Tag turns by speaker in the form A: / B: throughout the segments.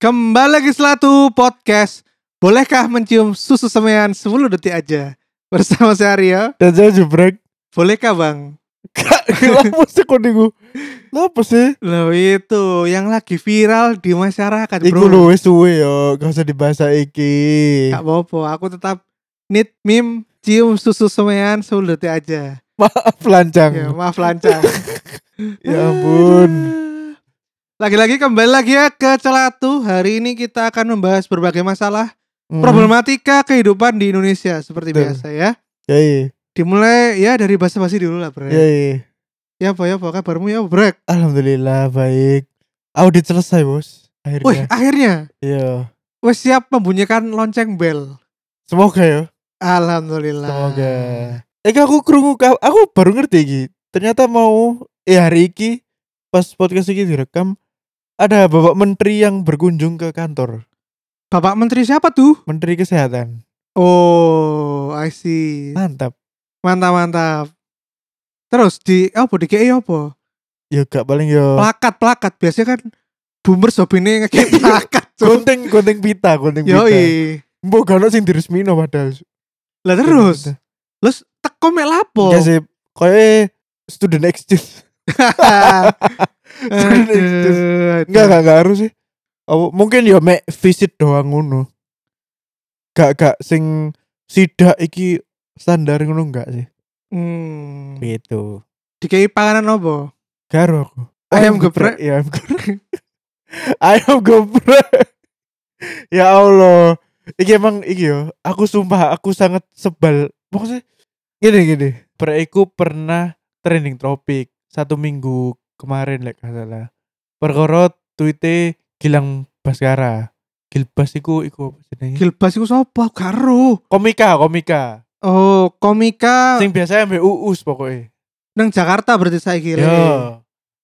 A: Kembali lagi selatu podcast. Bolehkah mencium susu semean 10 detik aja? Bersama saya Aryo.
B: Dan saya jebrek.
A: Bolehkah bang?
B: Kak, kenapa sih kok niku? Kenapa sih?
A: Loh itu yang lagi viral di masyarakat
B: Iku
A: bro.
B: lu wis suwe yo, gak usah dibahas iki.
A: Gak apa-apa. Aku tetap need mim cium susu semean 10 detik aja.
B: Maaf lancang.
A: Ya, maaf lancar.
B: Ya ampun.
A: Lagi-lagi kembali lagi ya ke Celatu. Hari ini kita akan membahas berbagai masalah
B: Hmm.
A: problematika kehidupan di Indonesia seperti
B: Betul.
A: biasa ya.
B: Yai,
A: Dimulai ya dari basa-basi dulu lah, Bre.
B: yai.
A: Ya apa ya apa kabarmu ya brek?
B: Alhamdulillah baik. Audit selesai, Bos.
A: Wih
B: Akhirnya.
A: akhirnya
B: Iya.
A: wes siap membunyikan lonceng bel.
B: Semoga ya.
A: Alhamdulillah.
B: Semoga. Eh aku krungu ka- aku baru ngerti iki. Ternyata mau eh hari iki pas podcast ini direkam ada Bapak Menteri yang berkunjung ke kantor,
A: Bapak Menteri siapa tuh?
B: Menteri Kesehatan.
A: Oh, I see.
B: Mantap.
A: Mantap mantap. Terus di apa di KI apa?
B: Ya gak paling yo
A: Plakat plakat biasanya kan boomers hobine
B: Iya.
A: ngekei E plakat. Cuk.
B: gunting gunting pita, gunting pita.
A: Yoi.
B: Mbok gak ono sing diresmino padahal.
A: Lah terus, terus teko mek lapo?
B: Ya gitu. sih, koyoke student exchange.
A: Aduh,
B: Enggak enggak enggak harus sih. Apa- mungkin yo mek visit doang ngono. Gak gak sing sidak iki standar ngono enggak sih?
A: Hmm.
B: Gitu.
A: Di KI panganan apa?
B: Karo aku.
A: Ayam geprek.
B: Ya, ayam geprek. ayam geprek. ya Allah. Iki emang iki yo. Aku sumpah aku sangat sebal. Maksudnya gini gini. Preku pernah trending topik satu minggu kemarin lek gak salah. Perkara tweete Gilang Baskara. Gilbas iku iku apa jenenge?
A: Gilbas iku sapa? Karo.
B: Komika, komika.
A: Oh, komika
B: Sing biasanya ambek Uus pokoknya.
A: nang Jakarta berarti saya kira.
B: Yo.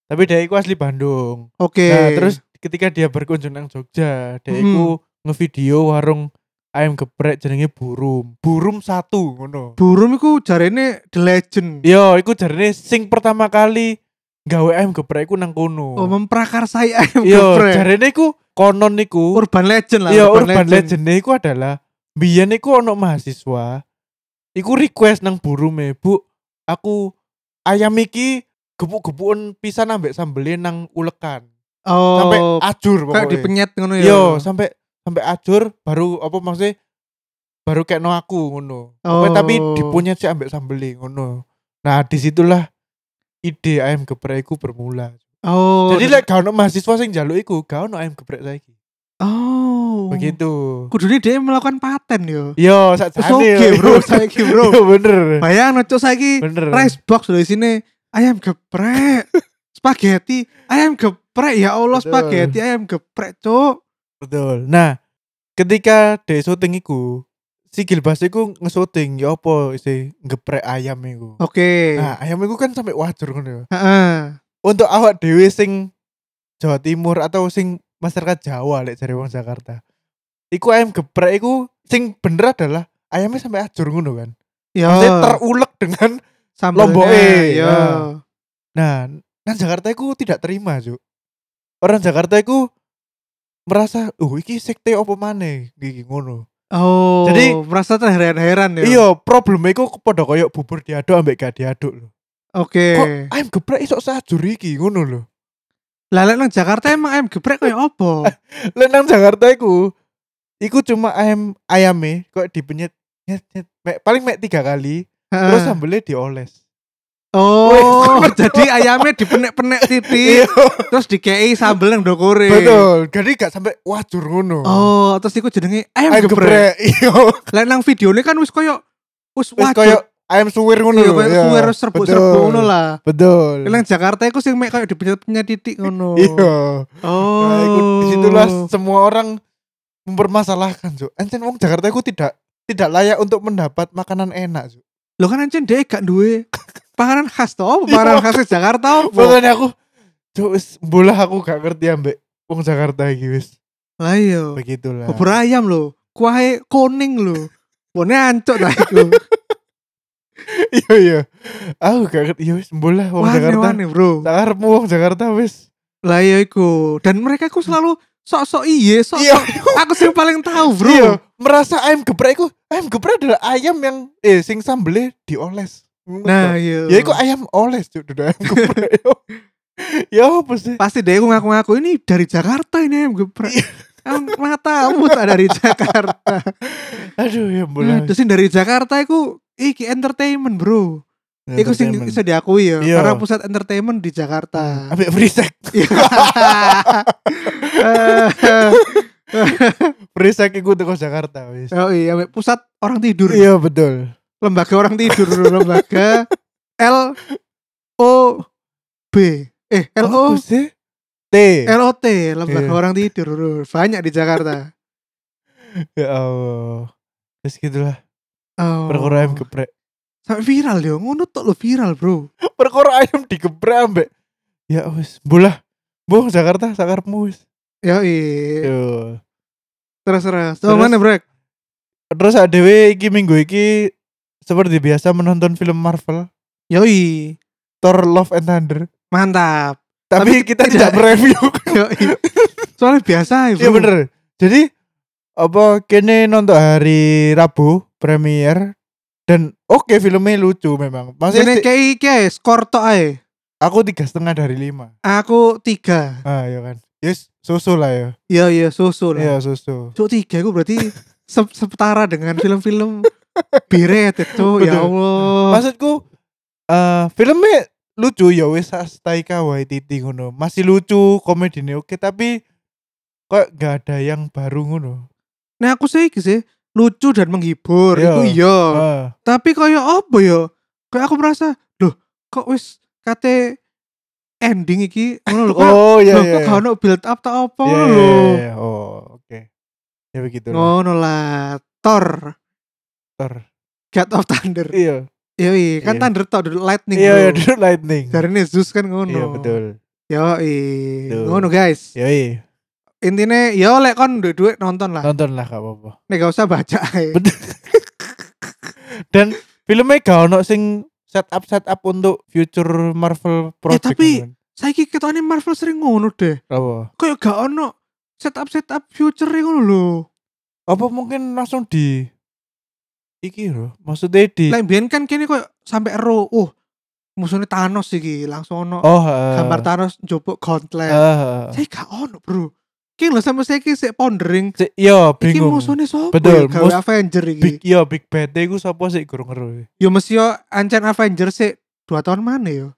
B: Tapi dia iku asli Bandung.
A: Oke.
B: Iya. Nah, terus ketika dia berkunjung nang Jogja, dia
A: Hmm.
B: iku ngevideo warung ayam geprek jenenge Burum. Burum satu ngono.
A: burung iku jarene the legend.
B: Yo, iku jarene sing pertama kali gawe ayam geprek iku nang kono.
A: Oh, memprakarsai ayam
B: Yo,
A: geprek.
B: jarene iku konon niku.
A: Urban legend lah.
B: Yo, Iya, urban legend iku adalah biyen iku ono mahasiswa iku request nang Burume, Bu, aku ayam iki gebuk-gebukan pisan ambek sambelin nang ulekan.
A: Oh,
B: Sampai ajur
A: kayak
B: pokoknya. Iya,
A: dipenyet ngono ya.
B: Yo, sampai sampai ajur baru apa maksudnya baru kayak no aku ngono. Pokoknya tapi
A: Oh.
B: dipunyet sih ambek sambeli ngono. Nah, disitulah ide ayam geprek iku bermula.
A: Oh.
B: Jadi
A: dan-
B: lek gak ono mahasiswa sing njaluk iku, gak ono ayam geprek saiki.
A: Oh.
B: Begitu.
A: Kudune dia melakukan paten yo.
B: Yo, sak
A: Wis oke, bro, saiki, bro.
B: Yo bener.
A: Bayang cuk saiki
B: Bener.
A: rice box dari sini ayam geprek. spaghetti ayam geprek ya Allah
B: Betul.
A: spaghetti ayam geprek cuk.
B: Betul. Nah, ketika dek syuting iku, si Gilbas iku nge-syuting ya apa sih geprek ayam iku.
A: Oke.
B: Nah, ayam iku kan sampai wajur ngono ya.
A: Heeh.
B: untuk awak dewe sing Jawa Timur atau sing masyarakat Jawa lek jare wong Jakarta. Iku ayam geprek iku sing bener adalah ayamnya sampai ajur ngono kan.
A: Yo.
B: Saya terulek dengan
A: sambelnya,
B: lomboke,
A: yo.
B: ya. nah, nang Jakarta iku tidak terima, Cuk. Orang Jakarta iku merasa, "Uh, iki sekte opo maneh?" gigi ngono.
A: Oh,
B: Jadi-
A: merasa terheran-heran ya.
B: Iya, probleme iku padha koyo bubur diaduk ambek gak diaduk lho.
A: Oke.
B: Kok ayam geprek iso sajur iki ngono lho.
A: Lah lek nang Jakarta emang ayam geprek koyo
B: Eh,
A: opo?
B: Lek nang Jakarta iku iku cuma ayam ayame kok dipenyet nyet, nyet. Mek- paling mek tiga kali terus
A: Heeh.
B: sambelnya dioles.
A: Oh,
B: Wih.
A: jadi ayamnya dipenek-penek titik, terus dikei sambel nang dokore.
B: Iya. betul. Jadi gak sampai wajur ngono.
A: Oh, terus iku jenenge ayam, geprek.
B: ayam geprek. Iya.
A: Lek nang videone kan wis koyo wis
B: Wis
A: wajib.
B: koyo ayam suwir ngono
A: Iya,
B: lho,
A: koyo
B: iya.
A: suwer serbuk-serbuk ngono lah.
B: Betul.
A: Lek nang Jakarta iku sing mek koyo dipenyet-penyet titik ngono.
B: Iya.
A: Oh.
B: Nah, iku disitulah semua orang mempermasalahkan, Cuk. Encen wong Jakarta iku tidak tidak layak untuk mendapat makanan enak, Cuk.
A: Lo kan anjen deh gak duwe panganan khas to, apa panganan khas Jakarta apa?
B: Makanya aku Cuk, wis bola aku gak ngerti ambek wong Jakarta iki wis.
A: Lah iya.
B: begitulah
A: Bubur ayam lo, kuahnya kuning lo. Wone ancuk ta iku.
B: iya iya aku gak ngerti iya wis mbul lah wong
A: Wane
B: Jakarta
A: wane, Bro.
B: tak karepmu wong Jakarta wis
A: Lah iya iku. Dan mereka ku selalu sok-sok iye, sok
B: Iya.
A: aku sih paling tahu, Bro.
B: Iya, merasa ayam geprek iku, ayam geprek adalah ayam yang eh sing sambelé dioles.
A: Nah, iya.
B: ya iku ayam oles cuk, dudu ayam geprek. ya apa sih?
A: pasti deh aku ngaku-ngaku ini dari Jakarta ini ayam geprek.
B: Iya.
A: Ayam matamu tak dari Jakarta.
B: Aduh,
A: Nah,
B: ya bulan.
A: terus yang dari Jakarta iku iki entertainment, Bro. Iku sing Ya, bisa diakui ya,
B: Iya.
A: karena pusat entertainment di Jakarta.
B: Ambil free sex. Free sex iku teko Jakarta wis.
A: oh iya, ampe pusat orang tidur.
B: Iya, betul.
A: Lembaga orang tidur, lembaga L O B. Eh, L O
B: Apa sih? Oh, T.
A: L O T, lembaga
B: Iya.
A: orang tidur. Banyak di Jakarta.
B: Ya Allah. Terus gitulah
A: Oh.
B: perkara ayam geprek.
A: Sampai viral yo, ngono tok lo viral, Bro.
B: Perkara ayam digeprek ambek. Ya wis, bulah. Boh Jakarta sakarepmu wis.
A: Yo iya.
B: Yo.
A: Terus terus.
B: Terus?
A: Tuh mana, Brek?
B: Terus adewe iki minggu iki seperti biasa menonton film Marvel
A: Yo iya.
B: Thor Love and Thunder.
A: Mantap. Tapi
B: Tapi, kita
A: tidak-
B: tidak mereview.
A: Yo iya. Soalnya biasa, ya,
B: Iya
A: Bro.
B: bener. Jadi apa kene nonton hari Rabu premier dan oke filmnya lucu memang.
A: Ini
B: Maksudnya si-
A: kayak kayak skor tok ae.
B: aku tiga setengah dari lima.
A: Aku tiga.
B: Ah ya kan. Yes, susu lah ya.
A: Iya iya susu lah.
B: Iya susu.
A: Cuk tiga aku berarti se- setara dengan film-film biret itu ya
B: Betul.
A: Allah.
B: Maksudku eh filmnya lucu ya wis Taika Waititi ngono. Masih lucu, komedinya oke tapi kok gak ada yang baru ngono.
A: Nah aku sih iki sih lucu dan menghibur
B: Iya.
A: itu iya.
B: Ah,
A: Tapi kayak apa ya? Kayak aku merasa, loh kok wis kate ending iki ngono lho kok.
B: oh iya
A: loh,
B: iya.
A: kok gak ono build up tak apa
B: Iya,
A: ngono
B: iya,
A: lho.
B: iya, iya. Oh, oke. Ya begitu lah.
A: Ngono lah. Thor,
B: Thor.
A: God of Thunder.
B: Iya.
A: Iya iya, kan
B: Iya.
A: Thunder tok dulu lightning.
B: Iya, iya,
A: bro.
B: dulu lightning.
A: Jarine Zeus kan ngono.
B: Iya, betul.
A: Yo, i.
B: Betul.
A: ngono guys.
B: Iya, iya.
A: Intinya yo lek kon duwe duit nonton lah.
B: Nonton lah gak apa-apa.
A: Nek gak usah baca ae.
B: Bet- Dan filmnya gak ono sing setup setup untuk future Marvel
A: Ya,
B: project.
A: tapi-
B: kan.
A: Saiki ketone Marvel sering ngono deh.
B: apa?
A: Kayak gak ono setup setup future ngono lho.
B: Apa mungkin langsung di iki loh maksudnya di
A: Lek mbiyen kan kene koyo sampe ero, uh musuhnya Thanos iki langsung ono
B: oh eh,
A: gambar ya. Thanos njupuk gauntlet.
B: eh, eh, eh.
A: Saya gak ono, Bro. Ki lho sampe saiki sik pondering.
B: Si- iya
A: Iki
B: bingung
A: musuhnya sapa?
B: Betul,
A: ya gawe
B: mus-
A: Avenger
B: big
A: iki.
B: iya big bad iku sapa sih kurang ngeru
A: Yo mesti yo ancen Avenger sik 2 tahun mana yo.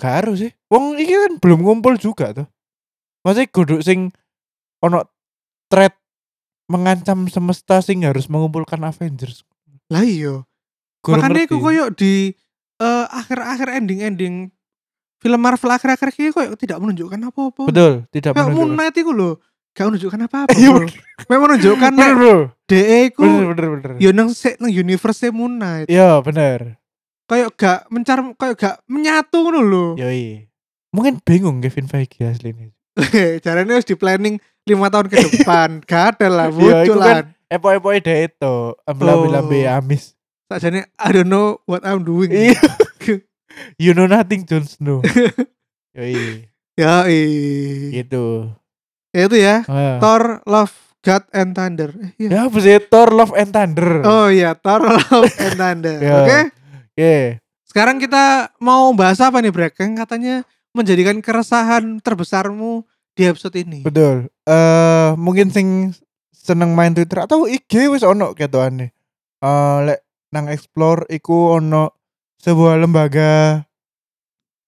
B: Gak harus sih. Wong iki kan belum ngumpul juga tuh. Masih godok sing ono threat mengancam semesta sing harus mengumpulkan Avengers.
A: Lah iya.
B: Kurang
A: Makanya aku
B: ngerti.
A: koyo di eh, akhir-akhir ending-ending film Marvel akhir-akhir ini koyo tidak menunjukkan apa-apa.
B: Betul, tidak
A: Kayak Moon
B: menunjukkan.
A: Knight itu loh, gak menunjukkan apa-apa.
B: Iya,
A: bro. Memang menunjukkan nek
B: Bener, bro.
A: DE iku
B: Bener, bener, bener.
A: yo nang se- nang universe e Moon Knight.
B: Iya, bener.
A: Kayak gak mencar kayak gak menyatu ngono lho.
B: Iya. Yoi. Mungkin bingung Kevin Feige asli ini.
A: Caranya harus di planning 5 tahun ke depan. gak ada lah
B: Iya, itu
A: muncul
B: kan
A: lah.
B: Epo-epoe deh itu, ambil-ambil ya, amis.
A: Sajane I don't know what I'm doing.
B: Oh. Iya. You know nothing, Jon Snow. Yoi,
A: ya i.
B: gitu.
A: Ya itu ya.
B: Ah.
A: Thor, Love, God and Thunder. Eh, iya.
B: Ya, apa sih? Thor, Love and Thunder.
A: Oh iya, Thor Love and Thunder.
B: Ya.
A: Oke.
B: Oke.
A: Sekarang kita mau bahas apa nih, Brek? Yang katanya menjadikan keresahan terbesarmu di episode ini.
B: Betul. Eh mungkin sing seneng main Twitter atau IG wis ono ketokane. Eh lek nang explore iku ono sebuah lembaga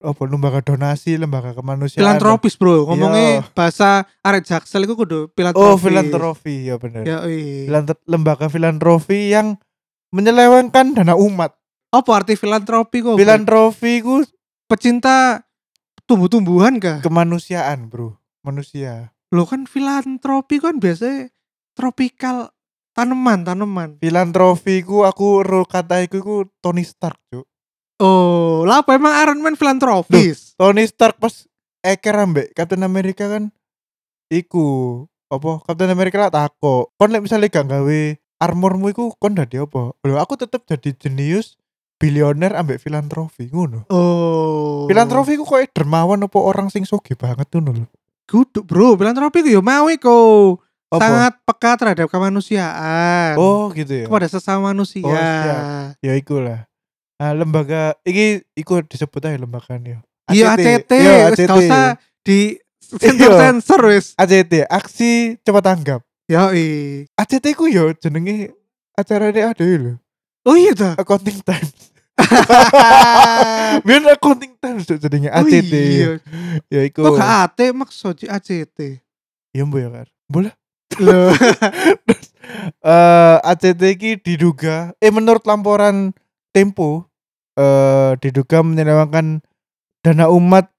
B: apa lembaga donasi, lembaga kemanusiaan.
A: Filantropis, Bro. Ngomongnya
B: Iya.
A: bahasa Arek Jaksel itu kudu filantropis.
B: Oh, filantrofi ya bener.
A: Ya, iya.
B: Filant- lembaga filantrofi yang menyelewengkan dana umat.
A: Apa arti filantropi kok? Bro?
B: Filantrofi ku
A: Pecinta tumbuh-tumbuhan kah?
B: kemanusiaan, Bro. Manusia.
A: Lo kan filantropi kan biasanya tropikal tanaman-tanaman.
B: Filantrofi ku aku ro kata iku iku Tony Stark, Cuk.
A: Oh, lah apa emang Iron Man filantropis?
B: Tony Stark pas eker ambek Captain America kan iku apa Captain America lah tako kon lek misalnya gak gawe armormu iku kon dadi apa lho aku tetep jadi jenius bilioner ambek filantrofi ngono
A: Oh.
B: filantrofi ku koyo dermawan apa orang sing soge banget ngono lho
A: Kudu bro, filantropi itu ya mau iku.
B: Apa?
A: Sangat peka terhadap kemanusiaan.
B: Oh gitu ya.
A: kepada sesama manusia.
B: Oh, siap. Ya iku lah. Ah, lembaga iki iku disebut aja lembaga ya.
A: Iya ACT,
B: Iya,
A: wis gak usah di
B: Iya.
A: sensor wis.
B: ACT, aksi cepat tanggap.
A: Yoi.
B: ACT ku yo jenenge acaranya ada ya lho.
A: Oh iya ta.
B: Accounting Times. Biar Accounting Times tuh jenenge
A: Oh
B: ACT.
A: iya.
B: Ya iku.
A: Kok gak AT makso di ACT.
B: Iya mbok ya kan. Boleh.
A: Loh.
B: Eh ACT iki diduga eh menurut laporan Tempo eh diduga menyelewangkan dana umat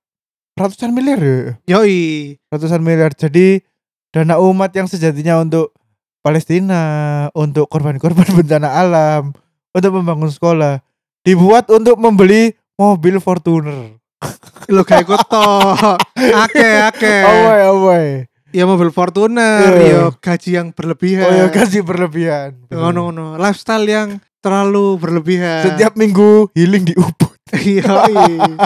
B: ratusan miliar ya.
A: Yoi.
B: ratusan miliar. Jadi dana umat yang sejatinya untuk Palestina, untuk korban-korban bencana alam, untuk membangun sekolah, dibuat untuk membeli mobil Fortuner.
A: Lo kayak gue toh. Ake ake.
B: Awoy, awoy.
A: Ya mobil Fortuner, yo
B: Iya.
A: gaji yang berlebihan.
B: Oh ya kasih berlebihan.
A: Eh. Ngono ngono. Lifestyle yang terlalu berlebihan.
B: Setiap minggu healing di Ubud.
A: Yoi.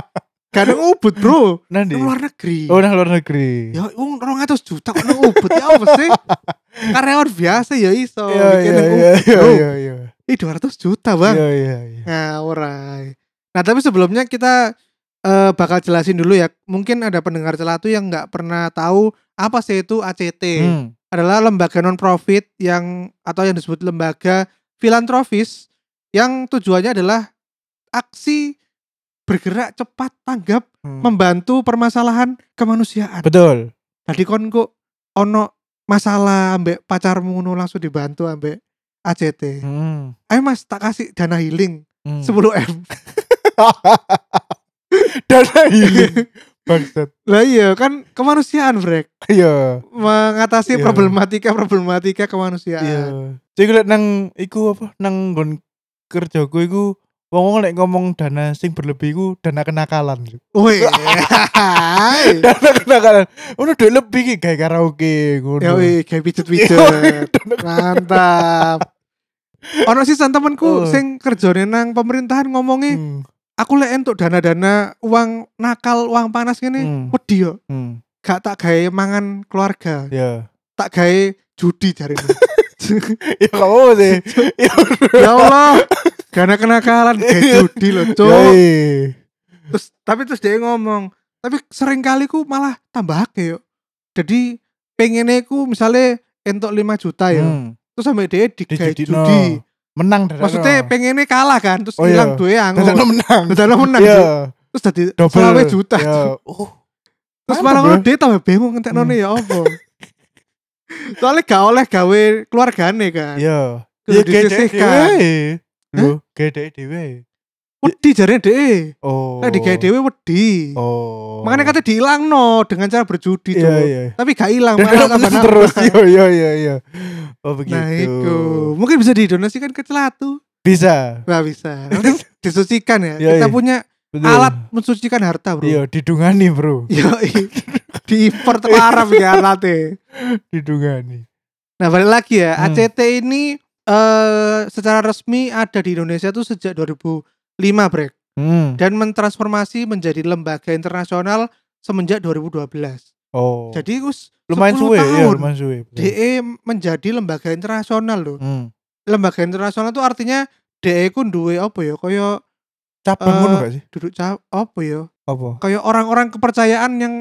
A: Kadang ubud, Bro.
B: Nanti.
A: Nang Luar negeri.
B: Oh, nah luar negeri.
A: Ya wong 200 juta kok nang ubud ya apa sih? Karyawan biasa ya iso
B: Iya,
A: bikin
B: iya,
A: nang
B: iya,
A: ubud,
B: iya,
A: bro.
B: iya, iya.
A: Ih 200 juta, Bang.
B: Iya, iya, iya.
A: Nah, alright. Nah, tapi sebelumnya kita eh, bakal jelasin dulu ya. Mungkin ada pendengar celatu yang nggak pernah tahu apa sih itu ACT.
B: Hmm.
A: Adalah lembaga non profit yang atau yang disebut lembaga filantropis yang tujuannya adalah aksi bergerak cepat tanggap
B: Hmm.
A: membantu permasalahan kemanusiaan.
B: Betul.
A: Tadi kon kok ono masalah ambek pacarmu ngono langsung dibantu ambek ACT.
B: Hmm.
A: Ayo Mas tak kasih dana healing
B: Hmm.
A: 10M.
B: dana healing. Bangsat.
A: Lah iya kan kemanusiaan, Brek.
B: Iya.
A: Mengatasi
B: Iya.
A: problematika-problematika kemanusiaan.
B: Iya. Jadi gue liat nang iku apa nang nggon kerjaku iku wong wong lek ngomong dana sing berlebih iku dana kenakalan.
A: Woi.
B: Dana kenakalan. Ono duit lebih iki gawe karaoke ngono.
A: Ya woi, kayak
B: Yoi,
A: pijet-pijet. Mantap. Ono sisan temanku
B: Oh.
A: sing kerjane nang pemerintahan ngomongi
B: Hmm,
A: aku lek entuk dana-dana uang nakal, uang panas ngene.
B: Hmm.
A: Wedi yo.
B: hmm,
A: gak tak gawe mangan keluarga,
B: Ya.
A: tak gawe judi jari
B: Ya kamu sih.
A: ya Allah, karena kenakalan gawe judi loh, cuk.
B: Yoi.
A: Terus tapi terus dia ngomong, tapi sering kali ku malah tambah akeh yo. Jadi pengennya ku misalnya entok 5 juta ya.
B: Hmm.
A: Terus sampe dia digawe
B: Dijudino.
A: judi.
B: Menang dana.
A: Maksudnya pengennya kalah kan, terus
B: Oh, iya.
A: hilang duwe
B: dana
A: anggur.
B: menang.
A: Dadakno menang,
B: Iya.
A: Cuk. Terus dadi
B: Double.
A: 20 juta.
B: Ya.
A: Cuk.
B: Oh.
A: Terus
B: Mantap,
A: malah
B: Bro.
A: ngono dia tambah bingung
B: Hmm.
A: ngenteknone ya apa. Soalnya gak oleh gawe keluargane kan.
B: Ya.
A: Kudu
B: Ya, gede
A: disisihkan.
B: dhewe. Lho, gede dhewe.
A: Wedi jarene dhek.
B: Oh.
A: Nek digawe dhewe wedi.
B: Oh.
A: Makanya kata gitu, dilangno dengan cara berjudi
B: Iya,
A: tuh.
B: iya.
A: Tapi gak hilang
B: Dan
A: malah tambah
B: menang
A: nambah.
B: terus Iya, yo yo yo yo. Oh begitu.
A: Nah itu Mungkin bisa didonasikan ke celatu
B: Bisa.
A: Gak bisa Nanti Disucikan ya
B: Iya,
A: Kita
B: iya.
A: punya
B: Betul.
A: alat mensucikan harta bro
B: Iya, didungani, Bro.
A: Yoi. Di impor terlarang ya alatnya
B: Didungani.
A: Nah balik lagi ya
B: Hmm.
A: ACT ini eh secara resmi ada di Indonesia tuh sejak 2005 brek
B: Hmm.
A: Dan mentransformasi menjadi lembaga internasional semenjak 2012
B: Oh.
A: Jadi us 10
B: lumayan suwe ya,
A: tahun.
B: lumayan suwe. betul.
A: DE E menjadi lembaga internasional loh.
B: Hmm.
A: Lembaga internasional itu artinya DE ku duwe apa ya? Kaya
B: Cabang
A: Eh,
B: ngono gak sih?
A: duduk ca apa ya?
B: Apa?
A: Kaya orang-orang kepercayaan yang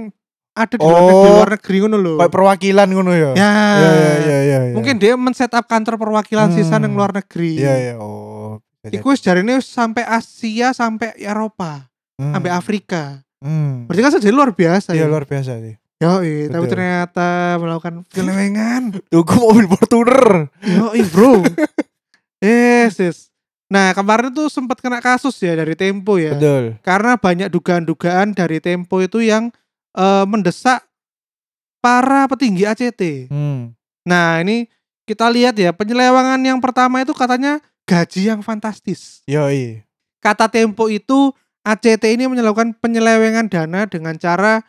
A: ada di
B: Oh.
A: luar negeri, luar negeri ngono loh.
B: Kayak perwakilan ngono ya.
A: Ya.
B: Ya ya ya ya. ya.
A: Mungkin dia men-set up kantor perwakilan sisa
B: Hmm.
A: nang luar negeri.
B: ya ya oh.
A: Iku wis jarine wis sampai Asia sampai Eropa,
B: Hmm.
A: sampai Afrika.
B: Hmm.
A: Berarti kan sejauh luar biasa
B: Iya
A: ya.
B: luar biasa sih.
A: Yoi, tapi
B: Betul.
A: ternyata melakukan penyelewengan.
B: Tuh gua mobil Fortuner.
A: Yoi bro Yes yes Nah kemarin tuh sempat kena kasus ya dari Tempo ya
B: Betul.
A: Karena banyak dugaan-dugaan dari Tempo itu yang eh, mendesak para petinggi ACT
B: Hmm.
A: Nah ini kita lihat ya penyelewangan yang pertama itu katanya gaji yang fantastis
B: Yoi.
A: Kata Tempo itu ACT ini melakukan penyelewengan dana dengan cara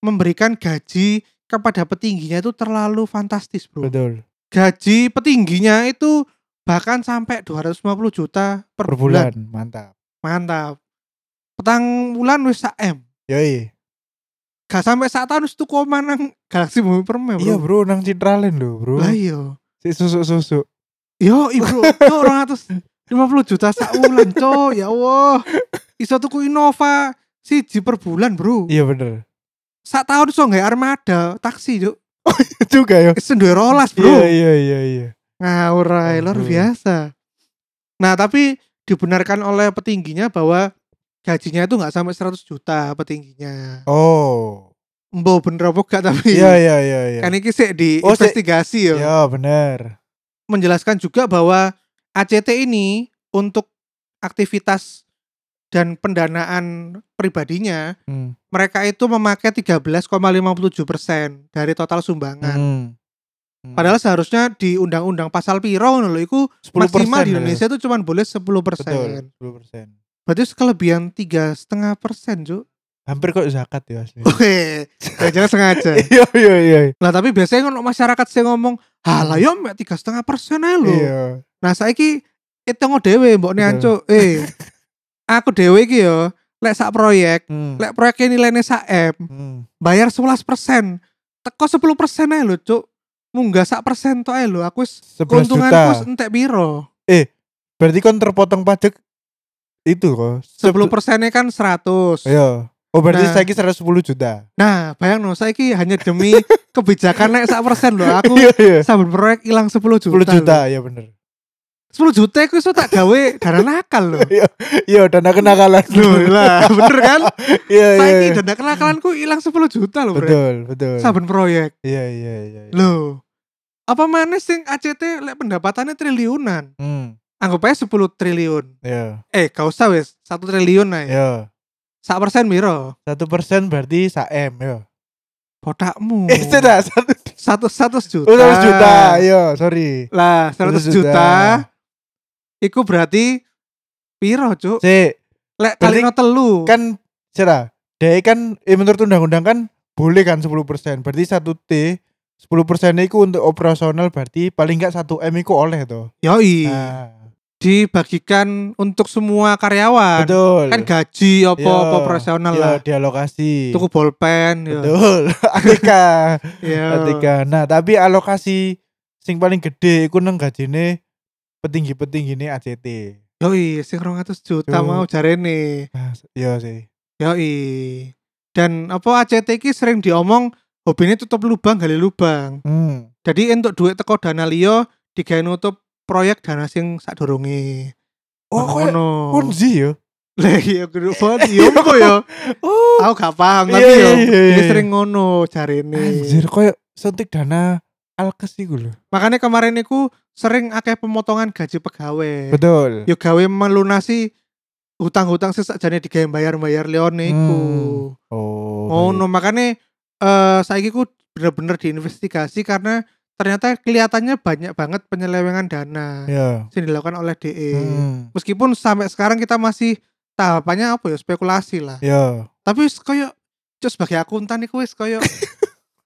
A: memberikan gaji kepada petingginya itu terlalu fantastis bro
B: Betul.
A: gaji petingginya itu bahkan sampai 250 juta per,
B: Per
A: bulan.
B: bulan, mantap.
A: Mantap. Petang bulan wis sak M.
B: Yoi.
A: gak sampai saat tahun itu koma nang Galaxy Bumi Permai
B: Iya
A: bro.
B: bro, nang Citralen lho bro.
A: Lah iya.
B: Si susuk-susuk.
A: Yo, bro, yo 250 juta sak wulan, co. Ya Allah. Iso tuku Innova siji per bulan, Bro.
B: Iya bener.
A: Sak tahun iso nggae armada taksi, Cuk.
B: Juga ya.
A: Wis duwe rolas, Bro.
B: Iya iya iya iya.
A: Ngawur ae, luar
B: Aduh.
A: biasa. Nah, tapi dibenarkan oleh petingginya bahwa gajinya itu nggak sampai 100 juta petingginya.
B: Oh.
A: Mbok bener apa gak tapi
B: Iya iya iya iya.
A: kan ini sih di
B: Oh, sik.
A: investigasi ya.
B: Iya bener.
A: Menjelaskan juga bahwa ACT ini untuk aktivitas dan pendanaan pribadinya
B: Hmm.
A: mereka itu memakai 13,57% dari total sumbangan.
B: Hmm. Hmm.
A: Kan. Padahal seharusnya di undang-undang pasal piro ngono lho iku
B: 10%
A: maksimal di
B: ya.
A: Indonesia itu cuma boleh 10%.
B: Betul, 10%.
A: Berarti kelebihan tiga setengah persen, Cuk.
B: Hampir kok zakat ya asli.
A: Oh. Oke, jangan sengaja.
B: Iya iya iya.
A: Nah tapi biasanya kan masyarakat sih ngomong, halah yo mek tiga setengah persen aja lho.
B: Iya.
A: Nah saiki itu ngo dewe mbok
B: Betul.
A: Cuk. Eh, aku dewe iki yo, lek sak proyek,
B: Hmm.
A: lek proyeknya nilainya sak M,
B: Hmm.
A: bayar 11 persen, teko 10 persen aja lho, Cuk. Munggah sak persen to aja lho, aku wis
B: 11 juta.
A: keuntunganku wis entek piro.
B: Berarti kon terpotong pajak itu kok.
A: 10 persennya kan 100.
B: Iya. Oh berarti
A: Nah.
B: saya saiki 110 juta.
A: Nah, bayang no, saya hanya demi kebijakan naik sak persen loh. Aku
B: Iya iya.
A: saben proyek hilang 10 juta.
B: 10 juta
A: loh.
B: ya bener.
A: 10 juta aku iso tak gawe dana nakal loh.
B: Iya dana kenakalan.
A: Loh lah, bener kan?
B: Iya iya.
A: Saiki
B: iya.
A: dana kenakalanku hilang 10 juta loh, Bro.
B: Betul betul.
A: Saben proyek.
B: Iya iya iya. iya.
A: Loh. Apa mana sing ACT lek pendapatannya triliunan?
B: Hmm.
A: Anggap aja 10 triliun.
B: Iya.
A: Eh, gak usah wes, 1 triliun ae.
B: Iya.
A: Sak persen biro?
B: Satu persen berarti saem ya.
A: Botakmu.
B: Eh sudah satu.
A: Satu satu juta.
B: Oh, 100 juta.
A: Nah.
B: Iya sorry.
A: Lah, 100
B: 100
A: juta. Iku berarti piro, Cuk?
B: Si
A: Lek
B: berarti
A: kalino telu.
B: kan Sera, DE kan eh, menurut undang-undang kan boleh kan 10%. Berarti 1 T 10% itu untuk operasional berarti paling enggak 1 M itu oleh tuh.
A: Yoi,
B: Nah,
A: dibagikan untuk semua karyawan.
B: betul.
A: Kan gaji apa-apa
B: Iya,
A: profesional
B: iya,
A: lah.
B: dialokasi.
A: Tuku bolpen ya.
B: Betul. Atika.
A: Iya.
B: Atika. Nah, tapi alokasi sing paling gede iku nang gajine petinggi-petinggi ini ACT.
A: Yoi, sing 200 juta
B: Yo.
A: mau jarene.
B: Nah, s- iya sih.
A: Yoi. Dan apa ACT iki sering diomong hobine tutup lubang gali lubang.
B: Hmm.
A: Jadi entuk duit teko dana liya digawe nutup proyek dana sing sadurunge.
B: Oh, koyo
A: Ngono.
B: Ponzi yo.
A: Lah iya kudu Ponzi yo kok yo.
B: Oh,
A: Aku gak paham
B: Iya,
A: tapi
B: iya,
A: yo
B: iya,
A: dia
B: iya.
A: sering ngono jarine.
B: anjir koyo suntik dana alkes iku lho.
A: Makanya kemarin niku sering akeh pemotongan gaji pegawai.
B: Betul.
A: Yo gawe melunasi hutang-hutang sih sakjane digawe bayar-bayar leon niku.
B: Oh.
A: Ngono makanya eh saiki ku bener-bener diinvestigasi karena ternyata kelihatannya banyak banget penyelewengan dana
B: Ya.
A: yang dilakukan oleh DE.
B: Hmm.
A: Meskipun sampai sekarang kita masih tahapannya apa ya spekulasi lah.
B: Ya.
A: tapi wis koyo cus bagi akuntan iku wis koyo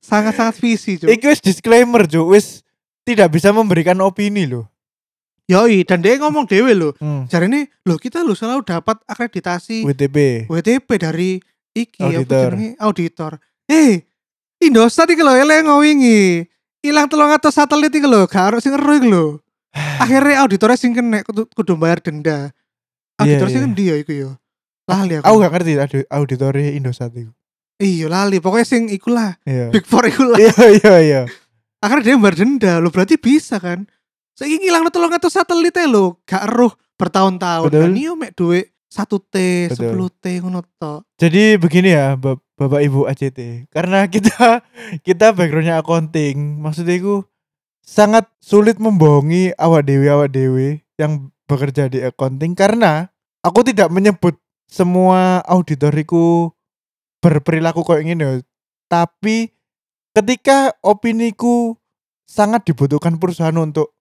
A: sangat-sangat visi cuy
B: Iki wis disclaimer, Cuk. Wis tidak bisa memberikan opini loh.
A: yoi dan dia ngomong dewe lho
B: Hmm.
A: jari ini lho kita lho selalu dapat akreditasi
B: WTP.
A: WTP dari iki ya, apa
B: Auditor.
A: jenenge? auditor eh Indosat iki lho eleng ngowingi ilang telung atus satelit iki lho gak harus sing ero iki lho akhirnya auditornya sing kena kudu, kudu bayar denda auditor
B: Iya,
A: sing
B: iya.
A: endi ya iku yo lali
B: Aku
A: aku
B: gak ngerti audi- auditori Indosat itu.
A: iya lali pokoknya sing ikulah
B: Iya.
A: big four ikulah
B: Iya iya iya.
A: akhirnya dia bayar denda lo berarti bisa kan saya ngilang tolong atau satelit lo gak eruh bertahun-tahun
B: Betul.
A: kan iya mek duit satu t
B: Betul.
A: 10 t ngono tok.
B: Jadi begini ya, Bap- Bapak Ibu ACT. Karena kita kita backgroundnya accounting, maksudnya itu sangat sulit membohongi awak dewi awak dewi yang bekerja di accounting karena aku tidak menyebut semua auditoriku berperilaku kayak gini ya. tapi ketika opiniku sangat dibutuhkan perusahaan untuk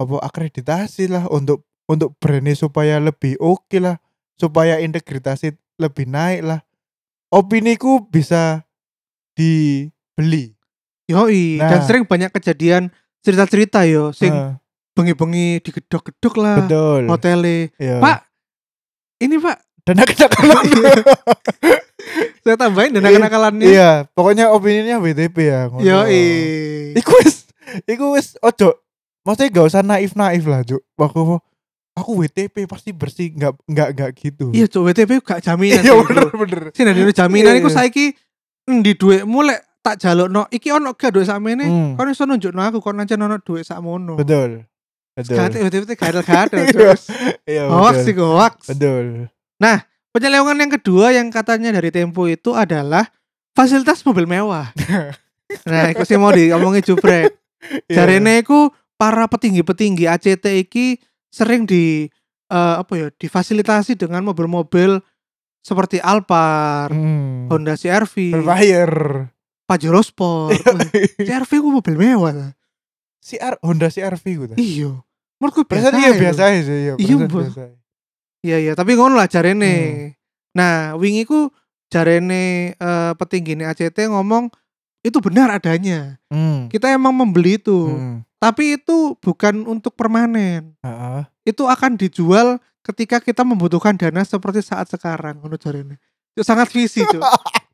B: apa akreditasi lah untuk untuk brandnya supaya lebih oke lah supaya integritasnya lebih naik lah opiniku bisa dibeli
A: yoi
B: Nah.
A: dan sering banyak kejadian cerita-cerita yo sing Ah,
B: Nah,
A: bengi-bengi digedok-gedok lah
B: betul
A: hotele
B: Iya.
A: Pak, ini pak
B: dana kenakalan
A: Saya tambahin dan akal-akalannya.
B: Iya, pokoknya opininya WTP ya. ngono.
A: Yo
B: Iku wis iku wis ojo. Maksudnya gak usah naif-naif lah, Cuk. Aku aku WTP pasti bersih, nggak nggak nggak gitu.
A: Iya, cok WTP gak jaminan.
B: Iya,
A: sih,
B: bener
A: bro.
B: bener.
A: Sih nanti ono jaminan
B: Iya,
A: iku
B: iya.
A: saiki endi dhuwitmu lek tak jalukno iki ono gak dhuwit sakmene?
B: Hmm,
A: Kon iso nunjukno aku kon ancen ono dhuwit sakmono.
B: betul. Betul.
A: Gak ada WTP gak ada.
B: Iya,
A: Cok.
B: Iya,
A: Hoax
B: betul.
A: sih hoax.
B: Betul.
A: Penyelewengan yang kedua yang katanya dari Tempo itu adalah fasilitas mobil mewah. nah, itu sih mau diomongin jubrek.
B: Iya.
A: Jarene iku para petinggi-petinggi ACT iki sering di eh, apa ya, difasilitasi dengan mobil-mobil seperti Alphard,
B: Hmm.
A: Honda CR-V,
B: Berbayar.
A: Pajero Sport. Wah, CR-V ku mobil mewah.
B: CR Honda CRV gitu.
A: Iya. Menurutku biasa.
B: Perasaan iya
A: ya.
B: biasa aja
A: Iya,
B: iya. perasaan
A: Bu.
B: biasa.
A: Iya iya, tapi ngono lah jarene.
B: Hmm.
A: Nah, wingi ku jarene eh, petinggi ini ACT ngomong itu benar adanya.
B: Hmm.
A: Kita emang membeli itu,
B: Hmm.
A: tapi itu bukan untuk permanen.
B: Heeh.
A: Itu akan dijual ketika kita membutuhkan dana seperti saat sekarang ngono jarene. Itu sangat visi, Cuk.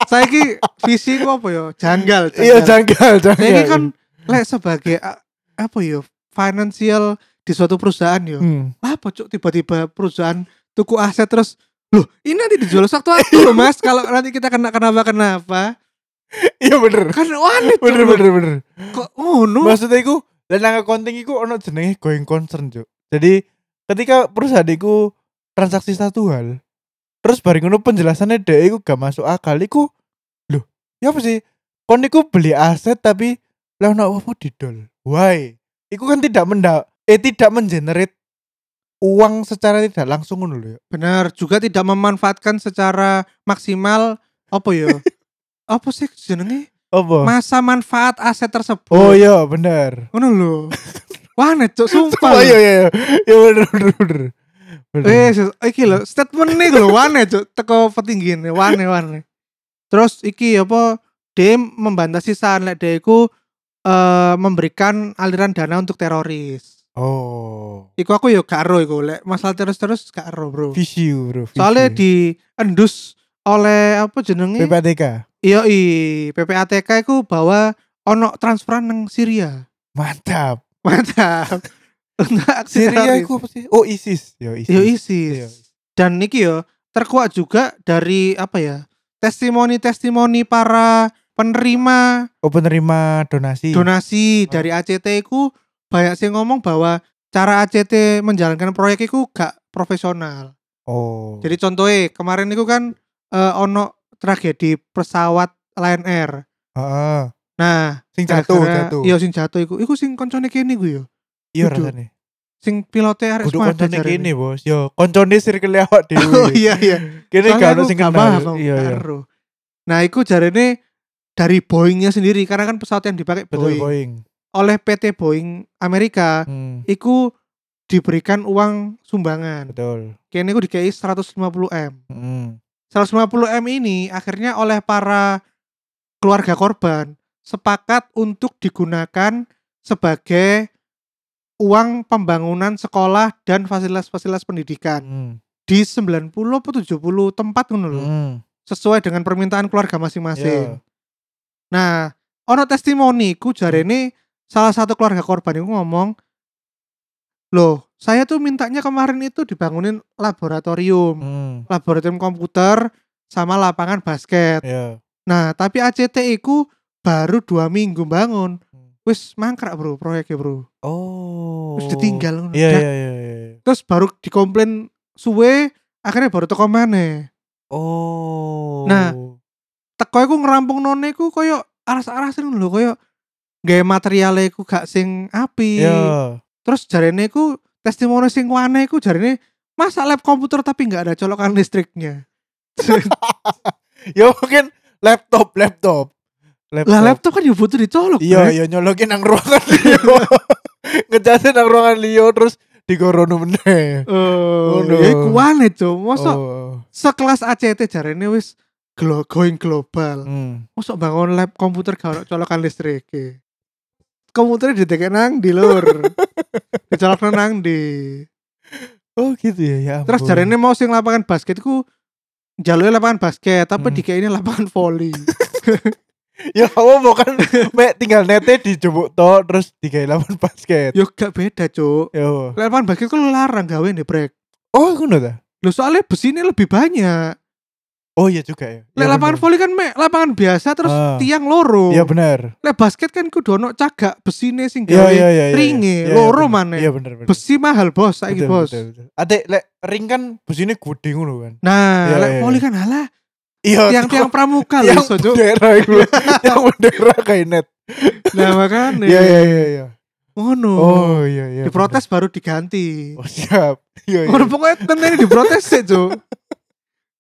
A: Saiki visi ku apa ya? Janggal,
B: Iya janggal janggal. Gitu.
A: Saiki kan lek sebagai a- apa ya? Financial di suatu perusahaan yo
B: Hmm.
A: apa cuk tiba-tiba perusahaan tuku aset terus loh ini nanti dijual satu waktu loh mas kalau nanti kita kena kenapa kenapa
B: Iya bener.
A: kan aneh Cuk.
B: Bener bener bener.
A: kok ngono
B: Maksudnya iku dan nang accounting iku ono jenenge going concern, Cuk. Jadi ketika perusahaan iku transaksi satu hal, terus bareng ngono penjelasannya dhek iku gak masuk akal iku. Loh, ya apa sih? Kon iku beli aset tapi lah ono apa didol. Why? Iku kan tidak menda eh tidak mengenerate uang secara tidak langsung ngono lho. ya.
A: benar juga tidak memanfaatkan secara maksimal apa ya apa sih jenenge
B: Apa?
A: masa manfaat aset tersebut
B: Oh iya, bener.
A: ngono lho wah aneh cuk sumpah
B: Oh iya iya iya. Iya bener bener bener. Bener.
A: Eh, sus- iki lho, statement nih lho wane cuk, teko petinggi ini, wane wane. Terus iki apa dia membantah sisaan lek dia iku eh, memberikan aliran dana untuk teroris.
B: Oh.
A: Iku aku yo gak ero iku lek masalah teroris-teroris gak ero, Bro.
B: Iya Visiu, Bro. visiu.
A: Soalnya diendus oleh apa jenenge?
B: PPATK.
A: Iya, i, PPATK iku bawa ono transferan nang Syria.
B: Mantap.
A: Mantap. Untuk aksi
B: Syria
A: teroris.
B: iku apa sih? Oh, ISIS. Yo ISIS.
A: Yo
B: Iya.
A: ISIS. Dan niki yo terkuat juga dari apa ya? Testimoni-testimoni para penerima
B: Oh, penerima donasi.
A: donasi
B: Ah.
A: dari ACT ku banyak sih ngomong bahwa cara ACT menjalankan proyek itu gak profesional.
B: oh.
A: Jadi contohnya kemarin itu kan eh, ono tragedi pesawat Lion Air.
B: Heeh.
A: Nah,
B: Sing jatuh, jatuh.
A: Iya sing jatuh iku. Iku sing koncone kene iku yo.
B: Iya
A: kudu.
B: rasane.
A: Sing pilote arek
B: Kudu
A: Semada
B: koncone
A: jarene.
B: kene, Bos. Yo, koncone circle awak dhewe.
A: Oh iya iya.
B: Kene
A: Soalnya
B: gak ono
A: aku
B: sing
A: gak
B: kenal.
A: paham, aku
B: Iya,
A: gak
B: iya.
A: ero. Nah, iku jarene dari Boeingnya sendiri karena kan pesawat yang dipakai
B: Betul
A: Boeing,
B: Boeing.
A: oleh PT Boeing Amerika
B: Hmm.
A: iku diberikan uang sumbangan.
B: Betul.
A: Kayaknya iku dikei 150M.
B: Hmm.
A: 150M ini akhirnya oleh para keluarga korban sepakat untuk digunakan sebagai uang pembangunan sekolah dan fasilitas-fasilitas pendidikan
B: Hmm.
A: di 90 atau 70 tempat ngono lho
B: Hmm.
A: sesuai dengan permintaan keluarga
B: Iya.
A: masing-masing. Nah, ono testimoni ku jarene salah satu keluarga korban itu ngomong, "Loh, saya tuh mintanya kemarin itu dibangunin laboratorium,
B: Hmm.
A: laboratorium komputer sama lapangan basket.
B: Iya.
A: Nah, tapi ACT iku baru dua minggu bangun.
B: Hmm.
A: Wis mangkrak, Bro, proyeknya, Bro.
B: Oh.
A: Terus ditinggal Nah. ngono.
B: Iya,
A: Dah.
B: iya, iya, iya.
A: Terus baru dikomplain suwe, akhirnya baru teko maneh.
B: Oh.
A: Nah. teko iku ngerampung none iku koyo aras-arasin lho koyo gaya materiale iku gak sing api
B: Iya.
A: terus jarene iku testimoni sing wane iku jarene masa lab komputer tapi nggak ada colokan listriknya
B: Ya mungkin laptop, laptop.
A: lah laptop kan ya butuh dicolok
B: Iya,
A: Bre.
B: iya nyolokin nang ruangan Leo. Ngecasnya nang ruangan Leo terus digorono
A: Eh,
B: meneh. Ngono.
A: ya iku wane cok mosok
B: Oh.
A: sekelas ACT jarene wis glo going global
B: Hmm.
A: mosok bangun lab komputer gak ada colokan listrik komputernya ditekek nang di lur dicolok nang di
B: Oh gitu ya, ya
A: Terus
B: ampun.
A: jarene mau sing lapangan basket ku jalur lapangan basket tapi
B: Hmm.
A: dikei ini lapangan volley
B: ya kamu mau kan mek tinggal nete dijebuk to terus tiga lawan basket
A: yo gak beda cuk
B: yo
A: lapangan basket kan lu larang gawe nih brek
B: oh ngono ta
A: lo soalnya besi ini lebih banyak
B: oh iya juga ya
A: Lek
B: Ya,
A: lapangan
B: bener.
A: volley kan mek lapangan biasa terus
B: Ah.
A: tiang loro
B: iya benar
A: lek basket kan kudu ono cagak besine sing
B: iya
A: gawe
B: iya iya iya.
A: ringe,
B: Iya, iya,
A: loro
B: bener.
A: maneh.
B: iya benar benar
A: besi mahal bos saiki
B: Betul,
A: bos
B: betul, betul. Ate lek ring kan busine gede ngono kan.
A: nah
B: Iya,
A: lek
B: iya,
A: volley
B: iya.
A: kan alah
B: Iya.
A: tiang-tiang pramuka lho
B: yang
A: iso cuk Iya.
B: bendera iku. yang bendera kayak net.
A: nah makane
B: Iya iya iya iya.
A: ngono
B: Oh iya iya.
A: diprotes baru diganti
B: bener. Oh siap. Iya iya.
A: Ngono pokoknya tenan ini diprotes sih cuk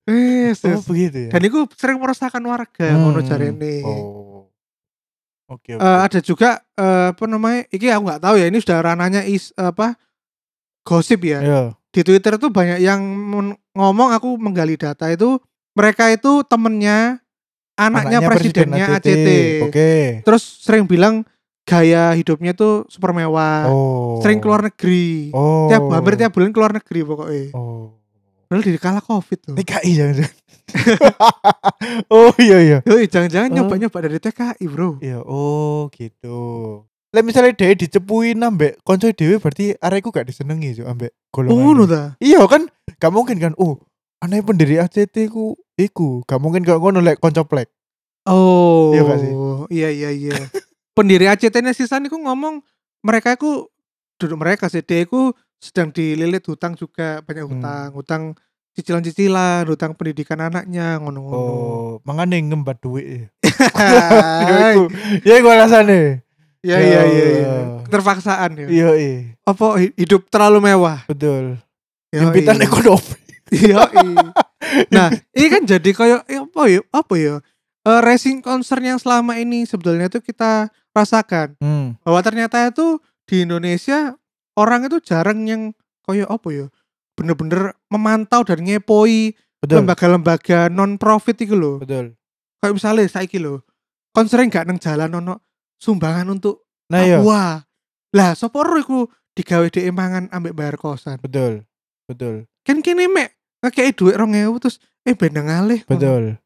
A: Wes,
B: Oh
A: wes.
B: begitu ya.
A: dan itu sering meresahkan warga
B: Hmm.
A: ngono jarene
B: Oh. Oke oke.
A: Eh, ada juga eh, apa namanya iki aku nggak tahu ya ini sudah ranahnya is apa gosip ya
B: Iya.
A: di Twitter tuh banyak yang men- ngomong aku menggali data itu mereka itu temennya anaknya, presidennya ACT.
B: Oke.
A: Terus sering bilang gaya hidupnya tuh super mewah,
B: Oh.
A: Eh, sering keluar negeri.
B: Oh.
A: Tiap hampir tiap bulan keluar negeri pokoknya.
B: Oh.
A: Padahal di kala Covid tuh.
B: TKI jangan Oh iya iya.
A: Yoi, jangan-jangan
B: Oh.
A: nyoba-nyoba dari TKI, Bro.
B: Iya, oh gitu. Lah misalnya dhewe dicepui ambek konco dhewe berarti areku gak disenengi cuk ambek golongan.
A: Oh, Ngono ta.
B: Iya kan? Gak mungkin kan. Oh, aneh pendiri ACT ku iku. Gak mungkin gak ngono lek konco plek.
A: Oh.
B: Iya gak sih?
A: Iya iya iya. Pendiri ACT-nya sisan iku ngomong mereka itu duduk mereka sih dia iku sedang dililit hutang juga banyak
B: Hmm.
A: hutang, hutang cicilan-cicilan, hutang pendidikan anaknya ngono-ngono.
B: Oh, mangane ngembat dhuwit.
A: Hai.
B: Ya iku. Ya iku alasane.
A: Iya iya iya iya.
B: Ya.
A: Terpaksaan ya.
B: Iya, iya.
A: Apa hi- hidup terlalu mewah?
B: Betul.
A: Yoi.
B: Himpitan ekonomi.
A: Yoi. Nah, ini kan jadi kayak eh, apa ya? Apa ya? Eh, racing concern yang selama ini sebetulnya tuh kita rasakan
B: Hmm.
A: bahwa ternyata itu di Indonesia orang itu jarang yang kayak apa ya bener-bener memantau dan ngepoi
B: Betul.
A: lembaga-lembaga non profit itu loh
B: Betul.
A: kayak misalnya saiki loh kon sering gak neng jalan ono sumbangan untuk
B: Nah, iya.
A: Papua lah sopo ro iku digawe dhek mangan ambek bayar kosan
B: Betul. Betul.
A: kan kene mek ngekei dhuwit 2000 terus eh beneng alih
B: Betul.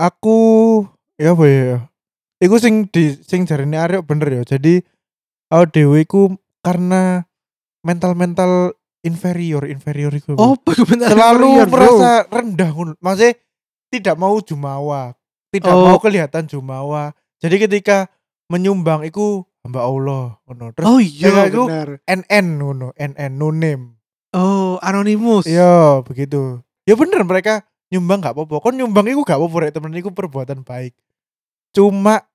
B: Aku ya apa ya? ya. Iku sing di sing jarine Aryo bener ya. Jadi aku dhewe iku karena mental-mental inferior inferior iku. apa?
A: oh bener
B: selalu merasa rendah ngono. Maksudnya tidak mau jumawa, tidak
A: Oh.
B: mau kelihatan jumawa. Jadi ketika menyumbang iku hamba Allah ngono. Terus
A: oh
B: Ya,
A: iya
B: iku-
A: bener
B: NN ngono, NN no name.
A: oh anonimus
B: Iya, begitu. Ya bener mereka nyumbang gak apa-apa. Kon nyumbang iku gak apa-apa, rek, temen iku perbuatan baik. Cuma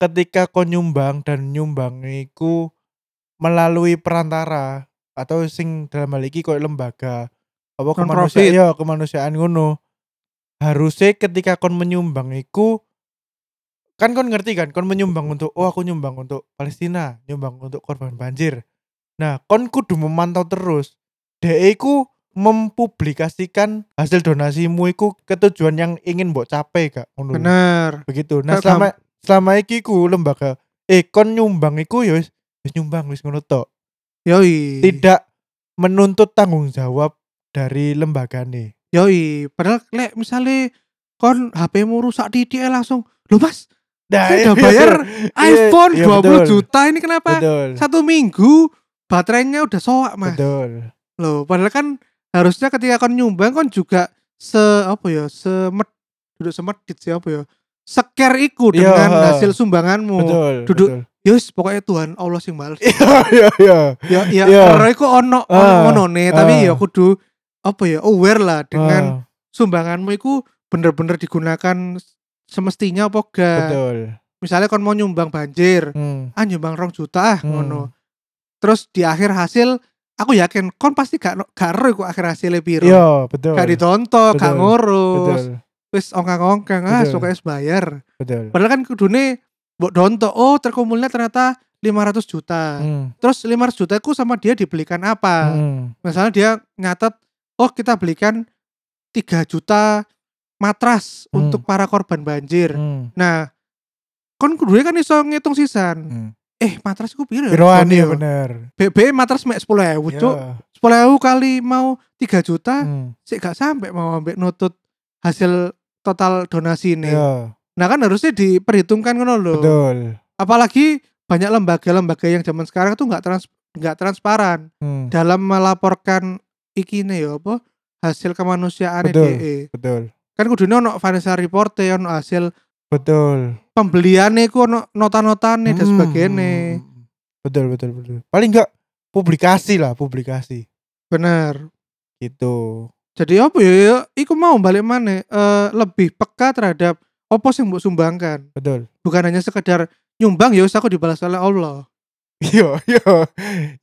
B: ketika kon nyumbang dan nyumbang iku melalui perantara atau sing dalam hal iki koyo lembaga apa
A: Non-profit.
B: kemanusiaan, ya kemanusiaan ngono. Harusnya ketika kon menyumbang iku kan kon ngerti kan kon menyumbang untuk oh aku nyumbang untuk Palestina, nyumbang untuk korban banjir. Nah, kon kudu memantau terus. Dek iku mempublikasikan hasil donasimu iku ke tujuan yang ingin mbok capai gak ngono lho.
A: bener
B: begitu
A: Gak
B: nah selama selama iki ku lembaga eh kon nyumbang iku ya wis wis nyumbang wis ngono tok
A: yoi
B: tidak menuntut tanggung jawab dari lembagane
A: yoi padahal lek misalnya kon HP-mu rusak titik eh, langsung lho mas
B: nah
A: Saya udah
B: iya,
A: bayar
B: iya,
A: iPhone
B: iya,
A: 20
B: betul.
A: juta ini kenapa
B: betul
A: satu minggu baterainya udah soak mas
B: betul
A: Loh, padahal kan harusnya ketika kon nyumbang kon juga se apa ya, semet duduk semedit sih apa ya. Seker iku
B: Iya,
A: dengan
B: ha.
A: hasil sumbanganmu.
B: betul
A: Oh, duduk.
B: betul.
A: Yus, pokoknya Tuhan Allah sing bales.
B: iya iya iya
A: ya ya
B: Iya.
A: ero iku ono ono
B: Ah,
A: onone, tapi
B: ah.
A: ya kudu apa ya aware lah dengan
B: Ah,
A: sumbanganmu iku bener-bener digunakan semestinya apa gak.
B: betul
A: Misalnya kon mau nyumbang banjir,
B: Hmm,
A: ah nyumbang rong juta ah
B: Hmm.
A: ngono. Terus di akhir hasil aku yakin kon pasti gak gak ero iku akhir hasilnya piro.
B: iya betul
A: gak ditonton, gak
B: Betul.
A: ngurus.
B: betul
A: Wis ongkang-ongkang ah
B: Betul.
A: suka es bayar.
B: betul
A: Padahal kan kudune mbok donto, oh terkumpulnya ternyata 500 juta.
B: Hmm,
A: Terus 500 juta ku sama dia dibelikan apa?
B: hmm.
A: Misalnya dia nyatet, oh kita belikan 3 juta matras
B: Hmm.
A: untuk para korban banjir.
B: Hmm,
A: Nah, kon kudune kan iso ngitung sisan.
B: hmm.
A: Eh, matras ku piro? ya?
B: Piroan
A: Kon
B: ya
A: yo.
B: bener
A: BB matras mek 10.000, Cuk.
B: Iya.
A: 10.000 kali mau 3 juta,
B: Hmm.
A: sik gak sampai mau ambek nutut hasil total donasi ini.
B: Iya,
A: Nah kan harusnya diperhitungkan kan loh.
B: betul.
A: Apalagi banyak lembaga-lembaga yang zaman sekarang tuh nggak trans nggak transparan
B: Hmm,
A: dalam melaporkan ikine ya apa hasil kemanusiaan
B: Betul.
A: DE.
B: betul.
A: Kan kudune ono financial report ono hasil
B: Betul.
A: pembeliannya ku ono nota-notane dan sebagainya.
B: Hmm. Betul betul betul. Paling enggak publikasi lah, publikasi.
A: Bener.
B: Gitu.
A: Jadi apa ya, ya iku mau balik mana eh, lebih peka terhadap opo yang mbok sumbangkan.
B: Betul.
A: Bukan hanya sekedar nyumbang ya wis aku dibalas oleh Allah.
B: Yo yo.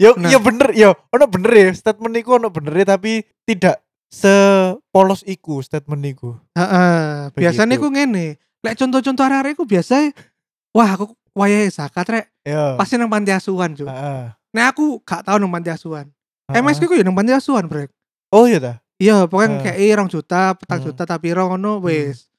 B: Yo
A: Nah.
B: yo bener yo. Ono bener ya statement niku ono bener ya, tapi tidak sepolos iku statement niku.
A: Heeh. Biasanya
B: Begitu.
A: ku ngene. Lek contoh-contoh arek-arek ku biasa wah aku wayahe zakat rek
B: Yo.
A: pasti nang panti asuhan, Cuk.
B: Heeh.
A: Nah aku gak tau nang panti asuhan.
B: Ah. Heeh.
A: MSK ku ya nang panti asuhan, Brek.
B: Oh iya ta.
A: Iya, pokoknya
B: Heeh.
A: kayak eh, rong juta, petang
B: Heeh.
A: juta tapi rong ngono wis.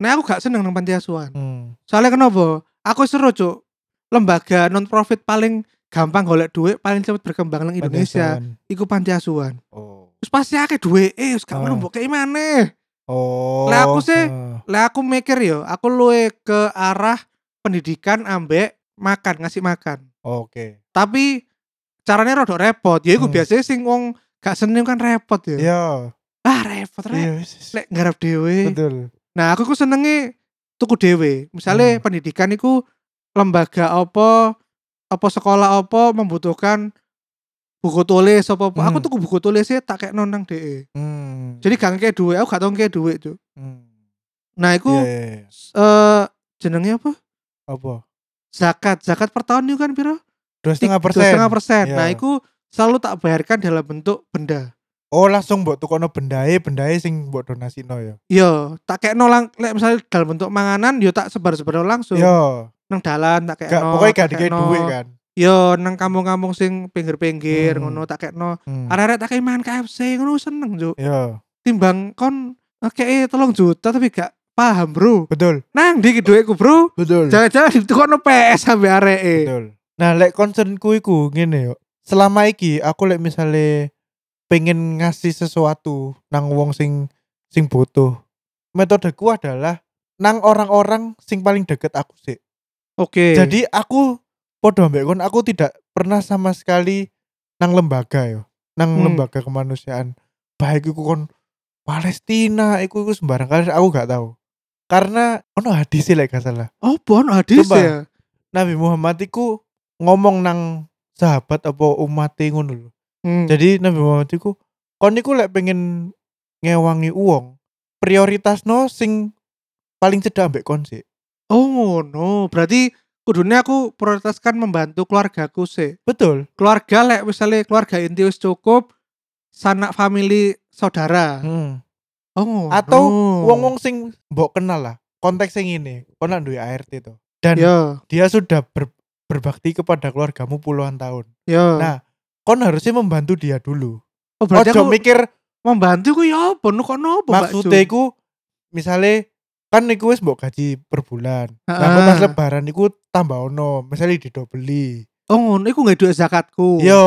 A: Nah aku gak seneng nang panti asuhan.
B: Hmm.
A: Soalnya kenapa? Aku seru cuk. Lembaga non profit paling gampang golek duit, paling cepat berkembang nang Indonesia.
B: Pantesan.
A: Iku panti asuhan.
B: Oh.
A: Terus pasti akeh duit, eh, wis gak
B: Ah.
A: ngono mbok kayak mana?
B: Oh.
A: Lah, aku sih-
B: Ah.
A: Lah aku mikir yo, aku luwe ke arah pendidikan ambek makan, ngasih makan.
B: Oh, Oke.
A: Tapi caranya rodok repot. Ya iku
B: Hmm.
A: biasanya sing wong gak seneng kan repot ya.
B: Yo.
A: Ah repot rek.
B: Iya. wis, wis.
A: Lek nggarap dhewe.
B: Betul.
A: Nah, aku ku senenge tuku dhewe. Misalnya
B: Hmm.
A: pendidikan iku lembaga apa apa sekolah apa membutuhkan buku tulis apa apa. Aku
B: Hmm.
A: tuku buku tulis e, tak kayak nonang DE.
B: Hmm.
A: Jadi gak kayak duit, aku gak tau kayak duit tuh.
B: Hmm.
A: Nah, iku
B: Iya, iya, iya.
A: s- eh jenenge apa?
B: apa?
A: Zakat. Zakat per tahun itu kan piro?
B: Dua setengah
A: Tik-
B: persen.
A: dua setengah persen.
B: Iya.
A: Nah, iku selalu tak bayarkan dalam bentuk benda.
B: Oh langsung mbok tukono bendae, bendae sing mbok donasino ya.
A: Yo, tak kayak nolang, lek misalnya dalam bentuk manganan, yo tak sebar-sebar langsung.
B: Yo,
A: Nang dalan tak kayak
B: Iya. gak pokoknya gak dikei duit kan.
A: Yo nang kampung-kampung sing pinggir-pinggir
B: Hmm.
A: ngono tak kekno.
B: Hmm. Iya.
A: Arek-arek tak kei mangan KFC ngono seneng, Cuk.
B: Yo,
A: Timbang kon ngekei tolong juta tapi gak paham, Bro.
B: betul,
A: Nang ndi iki dhuwitku, Bro?
B: betul.
A: Jangan-jangan ditukokno PS sampe arek e.
B: Hmm. Betul. Nah, lek concernku iku ngene yo. Selama iki aku lek misale pengen ngasih sesuatu nang wong sing sing butuh. Metodeku adalah nang orang-orang sing paling deket aku sih.
A: Oke.
B: Jadi aku podo ambek kon aku tidak pernah sama sekali nang lembaga yo. Nang
A: Hmm.
B: lembaga kemanusiaan. Baik iku kon Palestina, iku iku sembarang kali aku gak tahu. Karena ono hadis lek gak salah.
A: oh, bon hadis
B: Coba.
A: ya.
B: Nabi Muhammad iku ngomong nang sahabat apa umat ngono lho.
A: Hmm.
B: Jadi Nabi Muhammad iku kon niku lek pengen ngewangi uang prioritasno sing paling cedak ambek kon sih.
A: oh, ngono. Berarti kudune aku prioritaskan membantu keluargaku sih.
B: Betul.
A: Keluarga lek misalnya keluarga inti wis cukup, sanak family saudara.
B: Hmm.
A: Oh, ngono.
B: Atau
A: Oh.
B: wong-wong sing mbok kenal lah konteks sing ini kon nak duwe ART to dan
A: Yo,
B: dia sudah ber- berbakti kepada keluargamu puluhan tahun
A: yo.
B: Nah, kon harusnya membantu dia dulu
A: iya. oh, berarti
B: ojo
A: aku
B: mikir
A: membantu ku ya apa nu kok nopo Mbak Ju?
B: maksudnya iku misale kan niku wis mbok gaji per bulan nah
A: Ha-ha.
B: kok pas lebaran niku tambah ono misalnya didobeli
A: oh ngono iku nggak duit zakatku
B: yo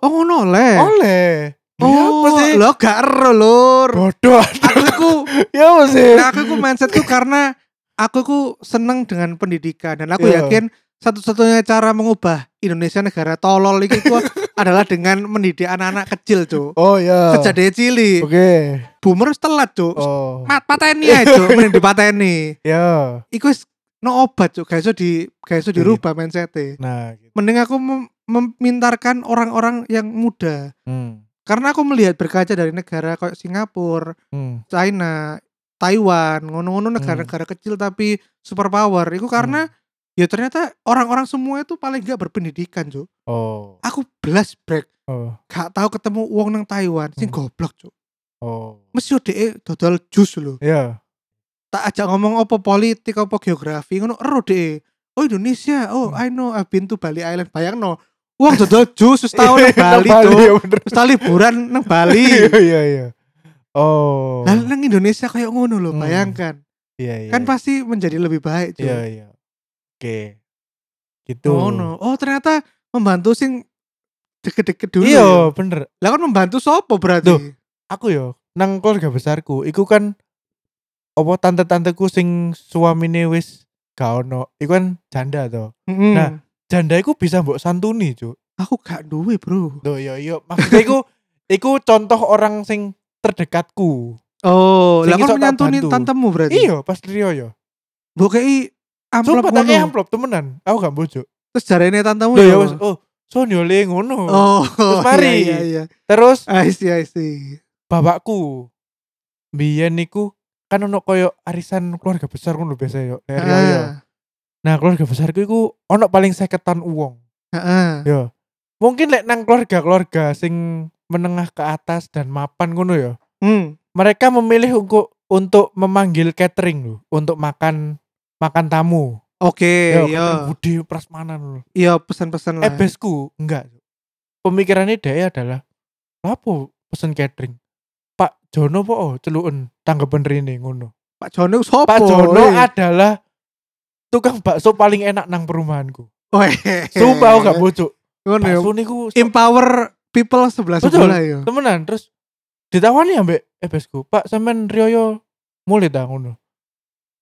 A: oh ngono le
B: oleh
A: oh
B: Ya, Iya. apa sih? Oh.
A: lo gak ero lur
B: bodoh
A: aku iku
B: ya apa sih
A: nah, aku iku mindsetku karena aku iku seneng dengan pendidikan dan aku
B: Iya.
A: yakin satu-satunya cara mengubah Indonesia negara tolol iki ku adalah dengan mendidik anak-anak kecil cuk
B: oh ya oke
A: kejadian cili boomer wis telat cuk
B: oh
A: mat pateni ae cuk mending dipateni
B: ya
A: iku wis no obat cuk gak iso di gak
B: Iya.
A: iso dirubah mindsetnya
B: nah gitu.
A: mending aku mem- memintarkan orang-orang yang muda
B: Hmm.
A: karena aku melihat berkaca dari negara kayak Singapura,
B: Hmm.
A: China, Taiwan, ngono-ngono negara-negara kecil tapi superpower. Itu karena
B: Hmm.
A: ya ternyata orang-orang semua itu paling gak berpendidikan, Cuk.
B: oh
A: Aku belas break
B: oh
A: gak tahu ketemu wong nang Taiwan sing
B: Hmm.
A: goblok, Cuk.
B: oh
A: Mesti yo dhek dodol jus lho.
B: ya
A: Tak ajak ngomong apa politik, apa geografi, ngono ero dhek. Oh Indonesia, oh
B: Hmm.
A: I know I've been to Bali Island. Bayangno, wong dodol jus wis tau nang Bali,
B: Bali,
A: Cuk.
B: ya bener.
A: Terus tak liburan nang Bali.
B: iya iya iya oh
A: Lah nang Indonesia kayak ngono loh,
B: Hmm.
A: bayangkan.
B: iya iya
A: Kan pasti menjadi lebih baik, Cuk.
B: iya iya oke gitu
A: Ngono. Oh, ternyata membantu sing deket-deket dulu.
B: iya
A: ya.
B: bener ya,
A: Lah kan membantu sopo berarti?
B: Duh. aku yo nang keluarga besarku iku kan apa tante-tanteku sing suamine wis gak ono iku kan janda to
A: Mm-mm.
B: Nah. janda iku bisa mbok santuni cuk
A: aku gak duwe, Bro.
B: Loh, yo yo maksudnya iku iku contoh orang sing terdekatku
A: Oh, lah
B: Sing iso
A: kon
B: tak
A: menyantuni
B: bantu.
A: tantemu berarti.
B: iya pas Rio yo
A: Mbok kei amplop
B: Sumpah tak kayak
A: ngono.
B: amplop temenan Aku gak bojo
A: Terus jarene tantemu
B: Loh ya
A: apa?
B: wes, Oh Son yo le ngono
A: Oh,
B: Terus mari.
A: Iya, iya, iya.
B: Terus
A: I see, I see.
B: bapakku Biyen niku Kan ono koyo arisan keluarga besar ngono biasa yo Nek Rio yo
A: Heeh.
B: Nah keluarga besarku iku Ono paling seketan uang
A: Heeh.
B: Yo Mungkin lek nang keluarga-keluarga Sing menengah ke atas dan mapan ngono yo
A: Hmm.
B: Mereka memilih untuk untuk memanggil catering loh untuk makan makan tamu.
A: Oke,
B: Yo, catering
A: iya.
B: Budi Prasmanan loh.
A: Iya, pesan-pesan lah.
B: ebesku Eh, enggak pemikirannya dia adalah apa pesen catering Pak Jono po oh, celuen tanggapan Rene ngono
A: Pak Jono sopo?
B: Pak Jono
A: weh?
B: adalah tukang bakso paling enak nang perumahanku
A: Weh.
B: sumpah aku gak bocok
A: Ngono ya.
B: bakso niku se-
A: Empower people sebelah
B: Betul.
A: sebelah ya.
B: temenan terus ditawani ya, ambek ebesku Pak sampean Rioyo mulai ta ngono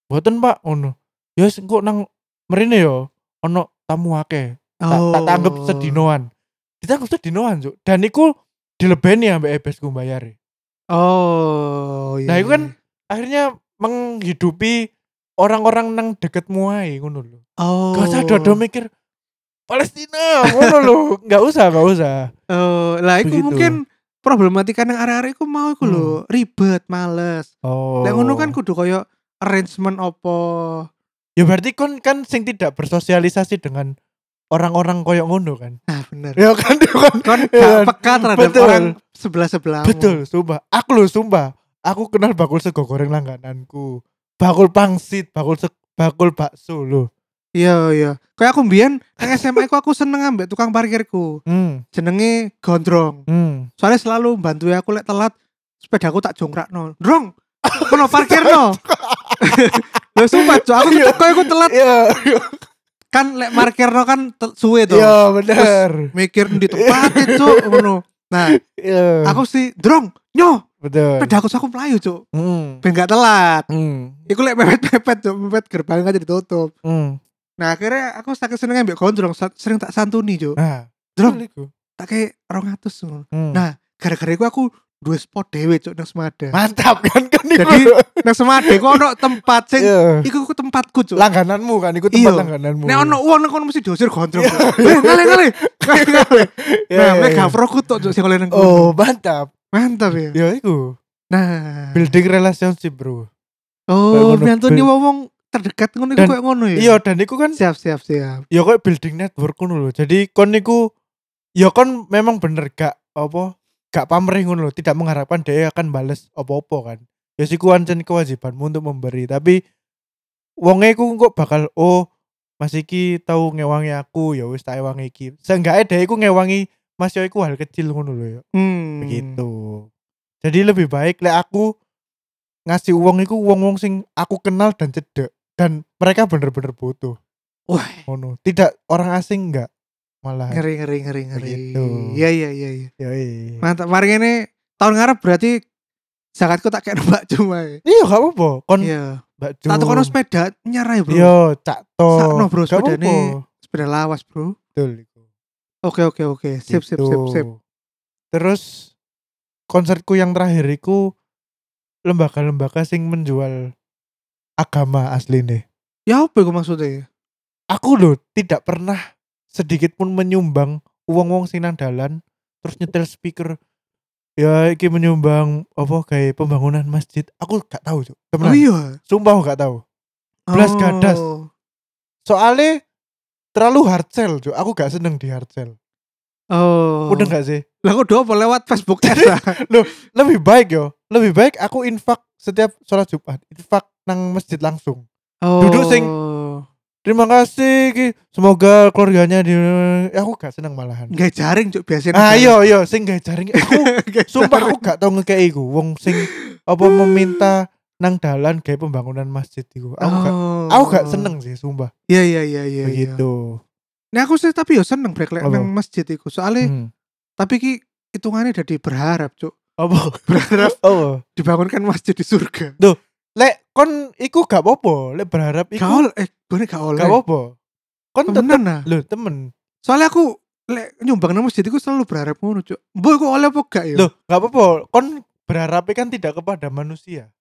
B: boten Pak ngono ya wis, engko nang mrene yo ono tamu akeh tak tak tanggep
A: Oh.
B: sedinoan ditanggep sedinoan cuk dan iku dilebeni ambek ebesku bayare
A: Oh, iya.
B: Nah, itu kan
A: iya.
B: akhirnya menghidupi orang-orang nang deketmu ae ngono lho
A: Oh.
B: gak usah dodo mikir Palestina ngono lho nggak usah nggak usah
A: Oh, lah iku
B: Begitu. Hmm.
A: mungkin problematika nang arek-arek iku mau iku lho, ribet, males.
B: oh
A: Lah ngono kan kudu koyo arrangement opo.
B: ya berarti kon kan sing tidak bersosialisasi dengan orang-orang koyo ngono kan
A: Nah, bener.
B: ya kan ya kan
A: Kon
B: Iya,
A: gak peka terhadap
B: betul.
A: orang sebelah-sebelahmu.
B: betul sumpah aku lho sumpah aku kenal bakul sego goreng langgananku bakul pangsit bakul seg- bakul bakso lho
A: Iya, iya. Kayak aku mbiyen nang SMA ku aku seneng ambek tukang parkirku.
B: hmm
A: Jenenge Gondrong.
B: Hmm.
A: soalnya selalu bantu ya, aku lek telat sepedaku tak jongkrak no drong kono parkir no Loh sumpah cok aku
B: Iya.
A: tetep aku telat
B: Iya,
A: kan lek parkir no kan tel- suwe to
B: iya benar.
A: mikir di tempat cok ngono nah
B: Iya.
A: aku sih drong nyo
B: betul.
A: pedaku aku melayu cok
B: Hmm.
A: ben gak telat
B: Hmm.
A: iku lek mepet-mepet cok mepet gerbang aja ditutup
B: Hmm.
A: nah akhirnya aku sakit seneng ambek gondrong sa- sering tak santuni cok
B: Nah,
A: drong
B: iku.
A: tak kayak orang atus ngono
B: Hmm.
A: Nah. gara-gara iku aku dua spot dewe cok nang semada
B: mantap kan kan iku.
A: Jadi, nang semada iku ono tempat sing
B: Iya.
A: Iku ku tempatku cuk.
B: langgananmu kan iku tempat
A: Iya.
B: langgananmu.
A: Nek ono uang nek kono mesti diusir gondrong. Eh, kali kali.
B: Iya,
A: Nah,
B: iya,
A: mek
B: iya.
A: gafroku tok cuk sing oleh nang kono.
B: Oh, mantap.
A: Mantap ya.
B: Ya iku.
A: Nah.
B: Building relationship, Bro.
A: Oh,
B: Ngono.
A: nyantuni wong terdekat ngono iku
B: Dan-
A: koyo ngono ya.
B: Iya, dan iku kan
A: Siap, siap, siap.
B: ya kok building network ngono lho. Jadi kon niku ya kon memang bener gak apa gak pamrih ngono lho, tidak mengharapkan dia akan bales apa-apa kan. Ya siku ancen kewajibanmu untuk memberi, tapi wonge ku kok bakal oh Mas iki tau ngewangi aku, ya wis tak ewangi iki. Seenggaknya dia iku ngewangi Mas yo iku hal kecil ngono lho ya.
A: Hmm.
B: Begitu. Jadi lebih baik lek aku ngasih uang iku wong-wong sing aku kenal dan cedek dan mereka bener-bener butuh
A: Wah,
B: ngono tidak orang asing enggak malah
A: ngeri ngeri ngeri ngeri.
B: Begitu.
A: Iya, iya, iya, iya.
B: Yoi.
A: Mantap. Mari ngene tahun ngarep berarti zakatku tak kayak mbak cuma. ya.
B: iya gak apa-apa kon
A: Iya.
B: mbak Jum
A: Tak tukono sepeda nyarai, Bro.
B: iya cak to
A: Sakno, bro,
B: Gak
A: sepedane.
B: apa-apa.
A: Sepeda lawas, Bro.
B: betul iku.
A: Oke, oke, oke. Sip, sip, sip,
B: Gitu.
A: sip.
B: terus konserku yang terakhir iku lembaga-lembaga sing menjual agama asli nih
A: Ya apa iku maksudnya?
B: aku loh tidak pernah sedikit pun menyumbang uang-uang sing nang dalan terus nyetel speaker ya iki menyumbang apa kayak pembangunan masjid aku gak tahu Cuk.
A: Oh
B: temenan
A: iya.
B: sumpah aku gak tahu
A: Oh.
B: Blas gadas. soalnya terlalu hard sell cuy aku gak seneng di hard sell
A: Oh.
B: udah gak sih
A: Lah kok doa apa lewat Facebook ads ah?
B: lebih baik yo lebih baik aku infak setiap sholat jumat infak nang masjid langsung
A: oh.
B: Duduk sing- terima kasih Ki. semoga keluarganya di Ya, aku gak seneng malahan
A: Nggak jaring cuk biasanya.
B: ayo yo sing gak jaring aku
A: Nggak
B: sumpah
A: jaring.
B: aku gak tau ngekei iku wong sing apa meminta nang dalan kayak pembangunan masjid iku aku gak
A: Oh.
B: aku gak seneng sih sumpah
A: Iya iya iya iya. iya.
B: begitu
A: Nah aku sih tapi ya seneng brek lek
B: Apa?
A: nang masjid iku. Soale
B: Hmm.
A: tapi ki hitungannya jadi berharap cuk.
B: apa
A: Berharap
B: oh
A: dibangunkan masjid di surga.
B: lek kon iku gak apa-apa lek berharap
A: Gak
B: iku
A: oleh, eh gue gak oleh.
B: gak apa-apa kon tetep
A: Temenan nah.
B: lho temen
A: Soalnya aku lek nyumbang nang masjid iku selalu berharap ngono, Cuk. Mbok iku oleh apa gak ya?
B: lho gak apa-apa kon berharap kan tidak kepada manusia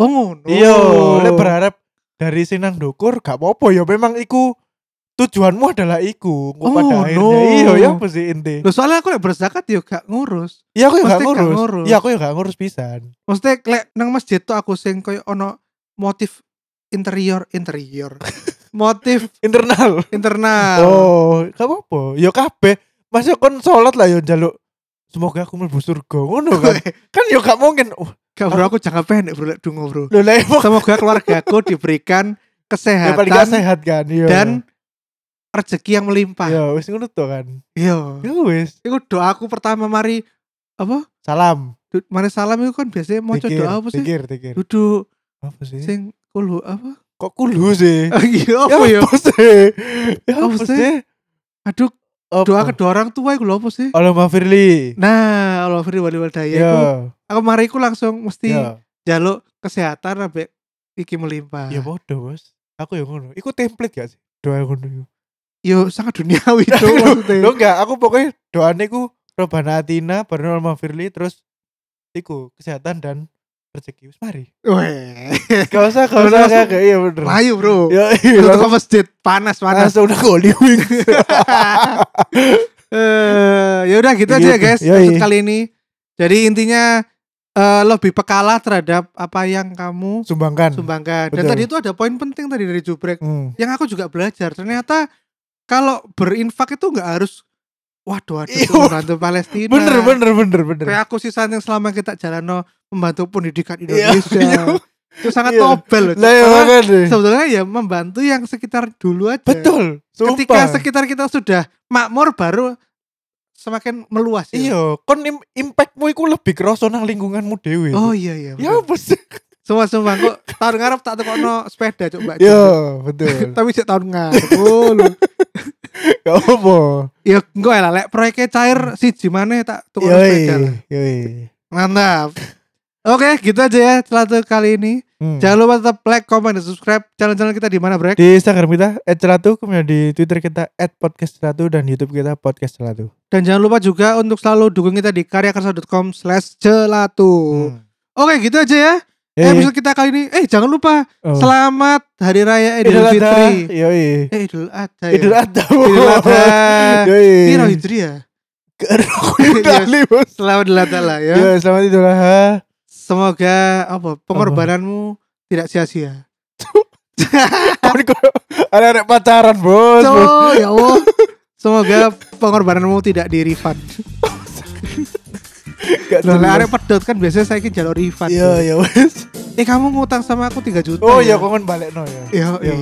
A: oh ngono.
B: iya lek berharap dari sinang dukur gak apa-apa ya memang iku tujuanmu adalah iku Engko
A: Oh,
B: pada
A: no.
B: akhirnya iya ya apa sih inti
A: Lho soalnya aku lek berzakat yo gak ngurus.
B: iya aku ya gak
A: Pasti gak
B: ngurus
A: ngurus.
B: iya aku ya gak ngurus pisan
A: Maksudnya lek nang masjid tuh aku sing koyo ono motif interior interior. motif
B: internal
A: internal.
B: Oh, gak apa-apa. Ya kabeh. Masuk kon salat lah ya njaluk semoga aku mlebu surga ngono kan. kan ya gak mungkin. Uh,
A: Gak bro aku jangka pendek bro lek dungo bro.
B: Lho lah emang
A: Semoga keluargaku diberikan
B: ya
A: kesehatan
B: paling gak sehat kan. Iya.
A: dan rezeki yang melimpah.
B: ya wis ngono to kan.
A: Yo.
B: Ya wis.
A: Iya. Iku doaku pertama mari apa?
B: Salam.
A: Du- Mari salam itu kan biasanya mau
B: Dikir,
A: doa apa sih?
B: Dikir, dikir.
A: Duduk
B: Apa sih?
A: sing kulu apa?
B: Kok kulu sih?
A: Iya
B: Ya
A: apa ya?
B: sih? Ya
A: Apa
B: apa
A: sih?
B: sih?
A: Aduh
B: Apa?
A: doa kedua orang tua iku lho apa sih?
B: Allahumma firli.
A: Nah, Allah Firdi wali wali daya iku.
B: Ya.
A: Aku mari iku langsung mesti
B: Ya.
A: jaluk kesehatan sampai iki melimpah.
B: Ya bodoh, Bos. Aku ya ngono. Iku template gak sih? Doa ngono iku.
A: Yo sangat duniawi itu
B: Aduh,
A: maksudnya.
B: Lo enggak, aku pokoknya doanya ku Robana Atina, Barno Almafirli, terus iku kesehatan dan rezeki. Wis mari.
A: Weh.
B: Gak usah, gak
A: Terus
B: usah,
A: langsung-
B: gak gak- iya bener.
A: Melayu, Bro.
B: Ya iya.
A: Itu ke
B: langsung-
A: masjid panas panas.
B: Langsung nang Holy Wings.
A: Eh, ya udah gitu aja ya,
B: Gitu,
A: guys
B: yoi.
A: episode kali ini. Jadi intinya eh, lebih pekalah terhadap apa yang kamu
B: Sumbangkan.
A: sumbangkan. Dan
B: Kan, Betul.
A: tadi itu ada poin penting tadi dari Jubrek
B: Hmm.
A: yang aku juga belajar. Ternyata kalau berinfak itu nggak harus waduh waduh
B: Iya.
A: membantu Palestina.
B: Bener, bener, bener, bener.
A: Nah. Kayak aku sisa yang selama kita jalano membantu pendidikan Indonesia.
B: iya.
A: Itu sangat
B: Iya.
A: nobel loh.
B: Lah ya
A: Karena
B: makanya.
A: Sebetulnya ya membantu yang sekitar dulu aja
B: Betul.
A: ketika
B: Sumpah.
A: sekitar kita sudah makmur baru semakin meluas ya.
B: Iya, kon im- impactmu iku lebih kerasa nang lingkunganmu dewe.
A: Oh iya iya.
B: ya apa sih?
A: Semua semua kok tahun ngarep tak tekokno sepeda coba.
B: Ya, betul.
A: Tapi sik tahun ngarep. Oh, lho.
B: Gak apa.
A: Ya enggak lah lek proyeknya cair siji maneh tak tukokno sepeda. lah.
B: Yoi, yoi.
A: Mantap. Oke, gitu aja ya celatu kali ini.
B: Hmm.
A: Jangan lupa tetap like, comment, dan subscribe channel-channel kita di mana, Brek?
B: di Instagram kita @celatu kemudian di Twitter kita @podcastcelatu dan YouTube kita podcastcelatu.
A: Dan jangan lupa juga untuk selalu dukung kita di karyakarsa.com/celatu.
B: Hmm.
A: Oke, gitu aja ya. Episode kita kali ini. Eh, jangan lupa
B: Oh.
A: Selamat Hari Raya Idul Fitri.
B: Yoi.
A: Eh, Idul Adha. ya.
B: Idul Adha.
A: Idul Adha.
B: Yoi.
A: Ini Rauh Hijri ya.
B: Kali, Bos.
A: Selamat Idul Adha lah ya.
B: Yoi, selamat Idul Adha.
A: Semoga apa pengorbananmu tidak sia-sia.
B: Kon koyo arek-arek pacaran, Bos. Bos.
A: Cok, ya Allah. Semoga pengorbananmu tidak di refund.
B: Gak
A: Loh,
B: jelas.
A: lah arek pedot kan biasanya saya jalur refund.
B: Iya, iya, Bos.
A: Eh, kamu ngutang sama aku 3 juta.
B: Oh iya, kon balik no ya.
A: Iya, iya.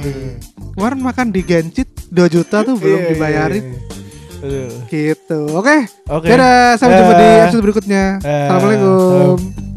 A: Kemarin makan di Gencit 2 juta tuh belum
B: Iya, iya,
A: dibayarin
B: iya. Aduh.
A: gitu. Oke.
B: Oke.
A: Dadah, sampai jumpa di
B: Dah.
A: episode berikutnya.
B: Dah.
A: Assalamualaikum.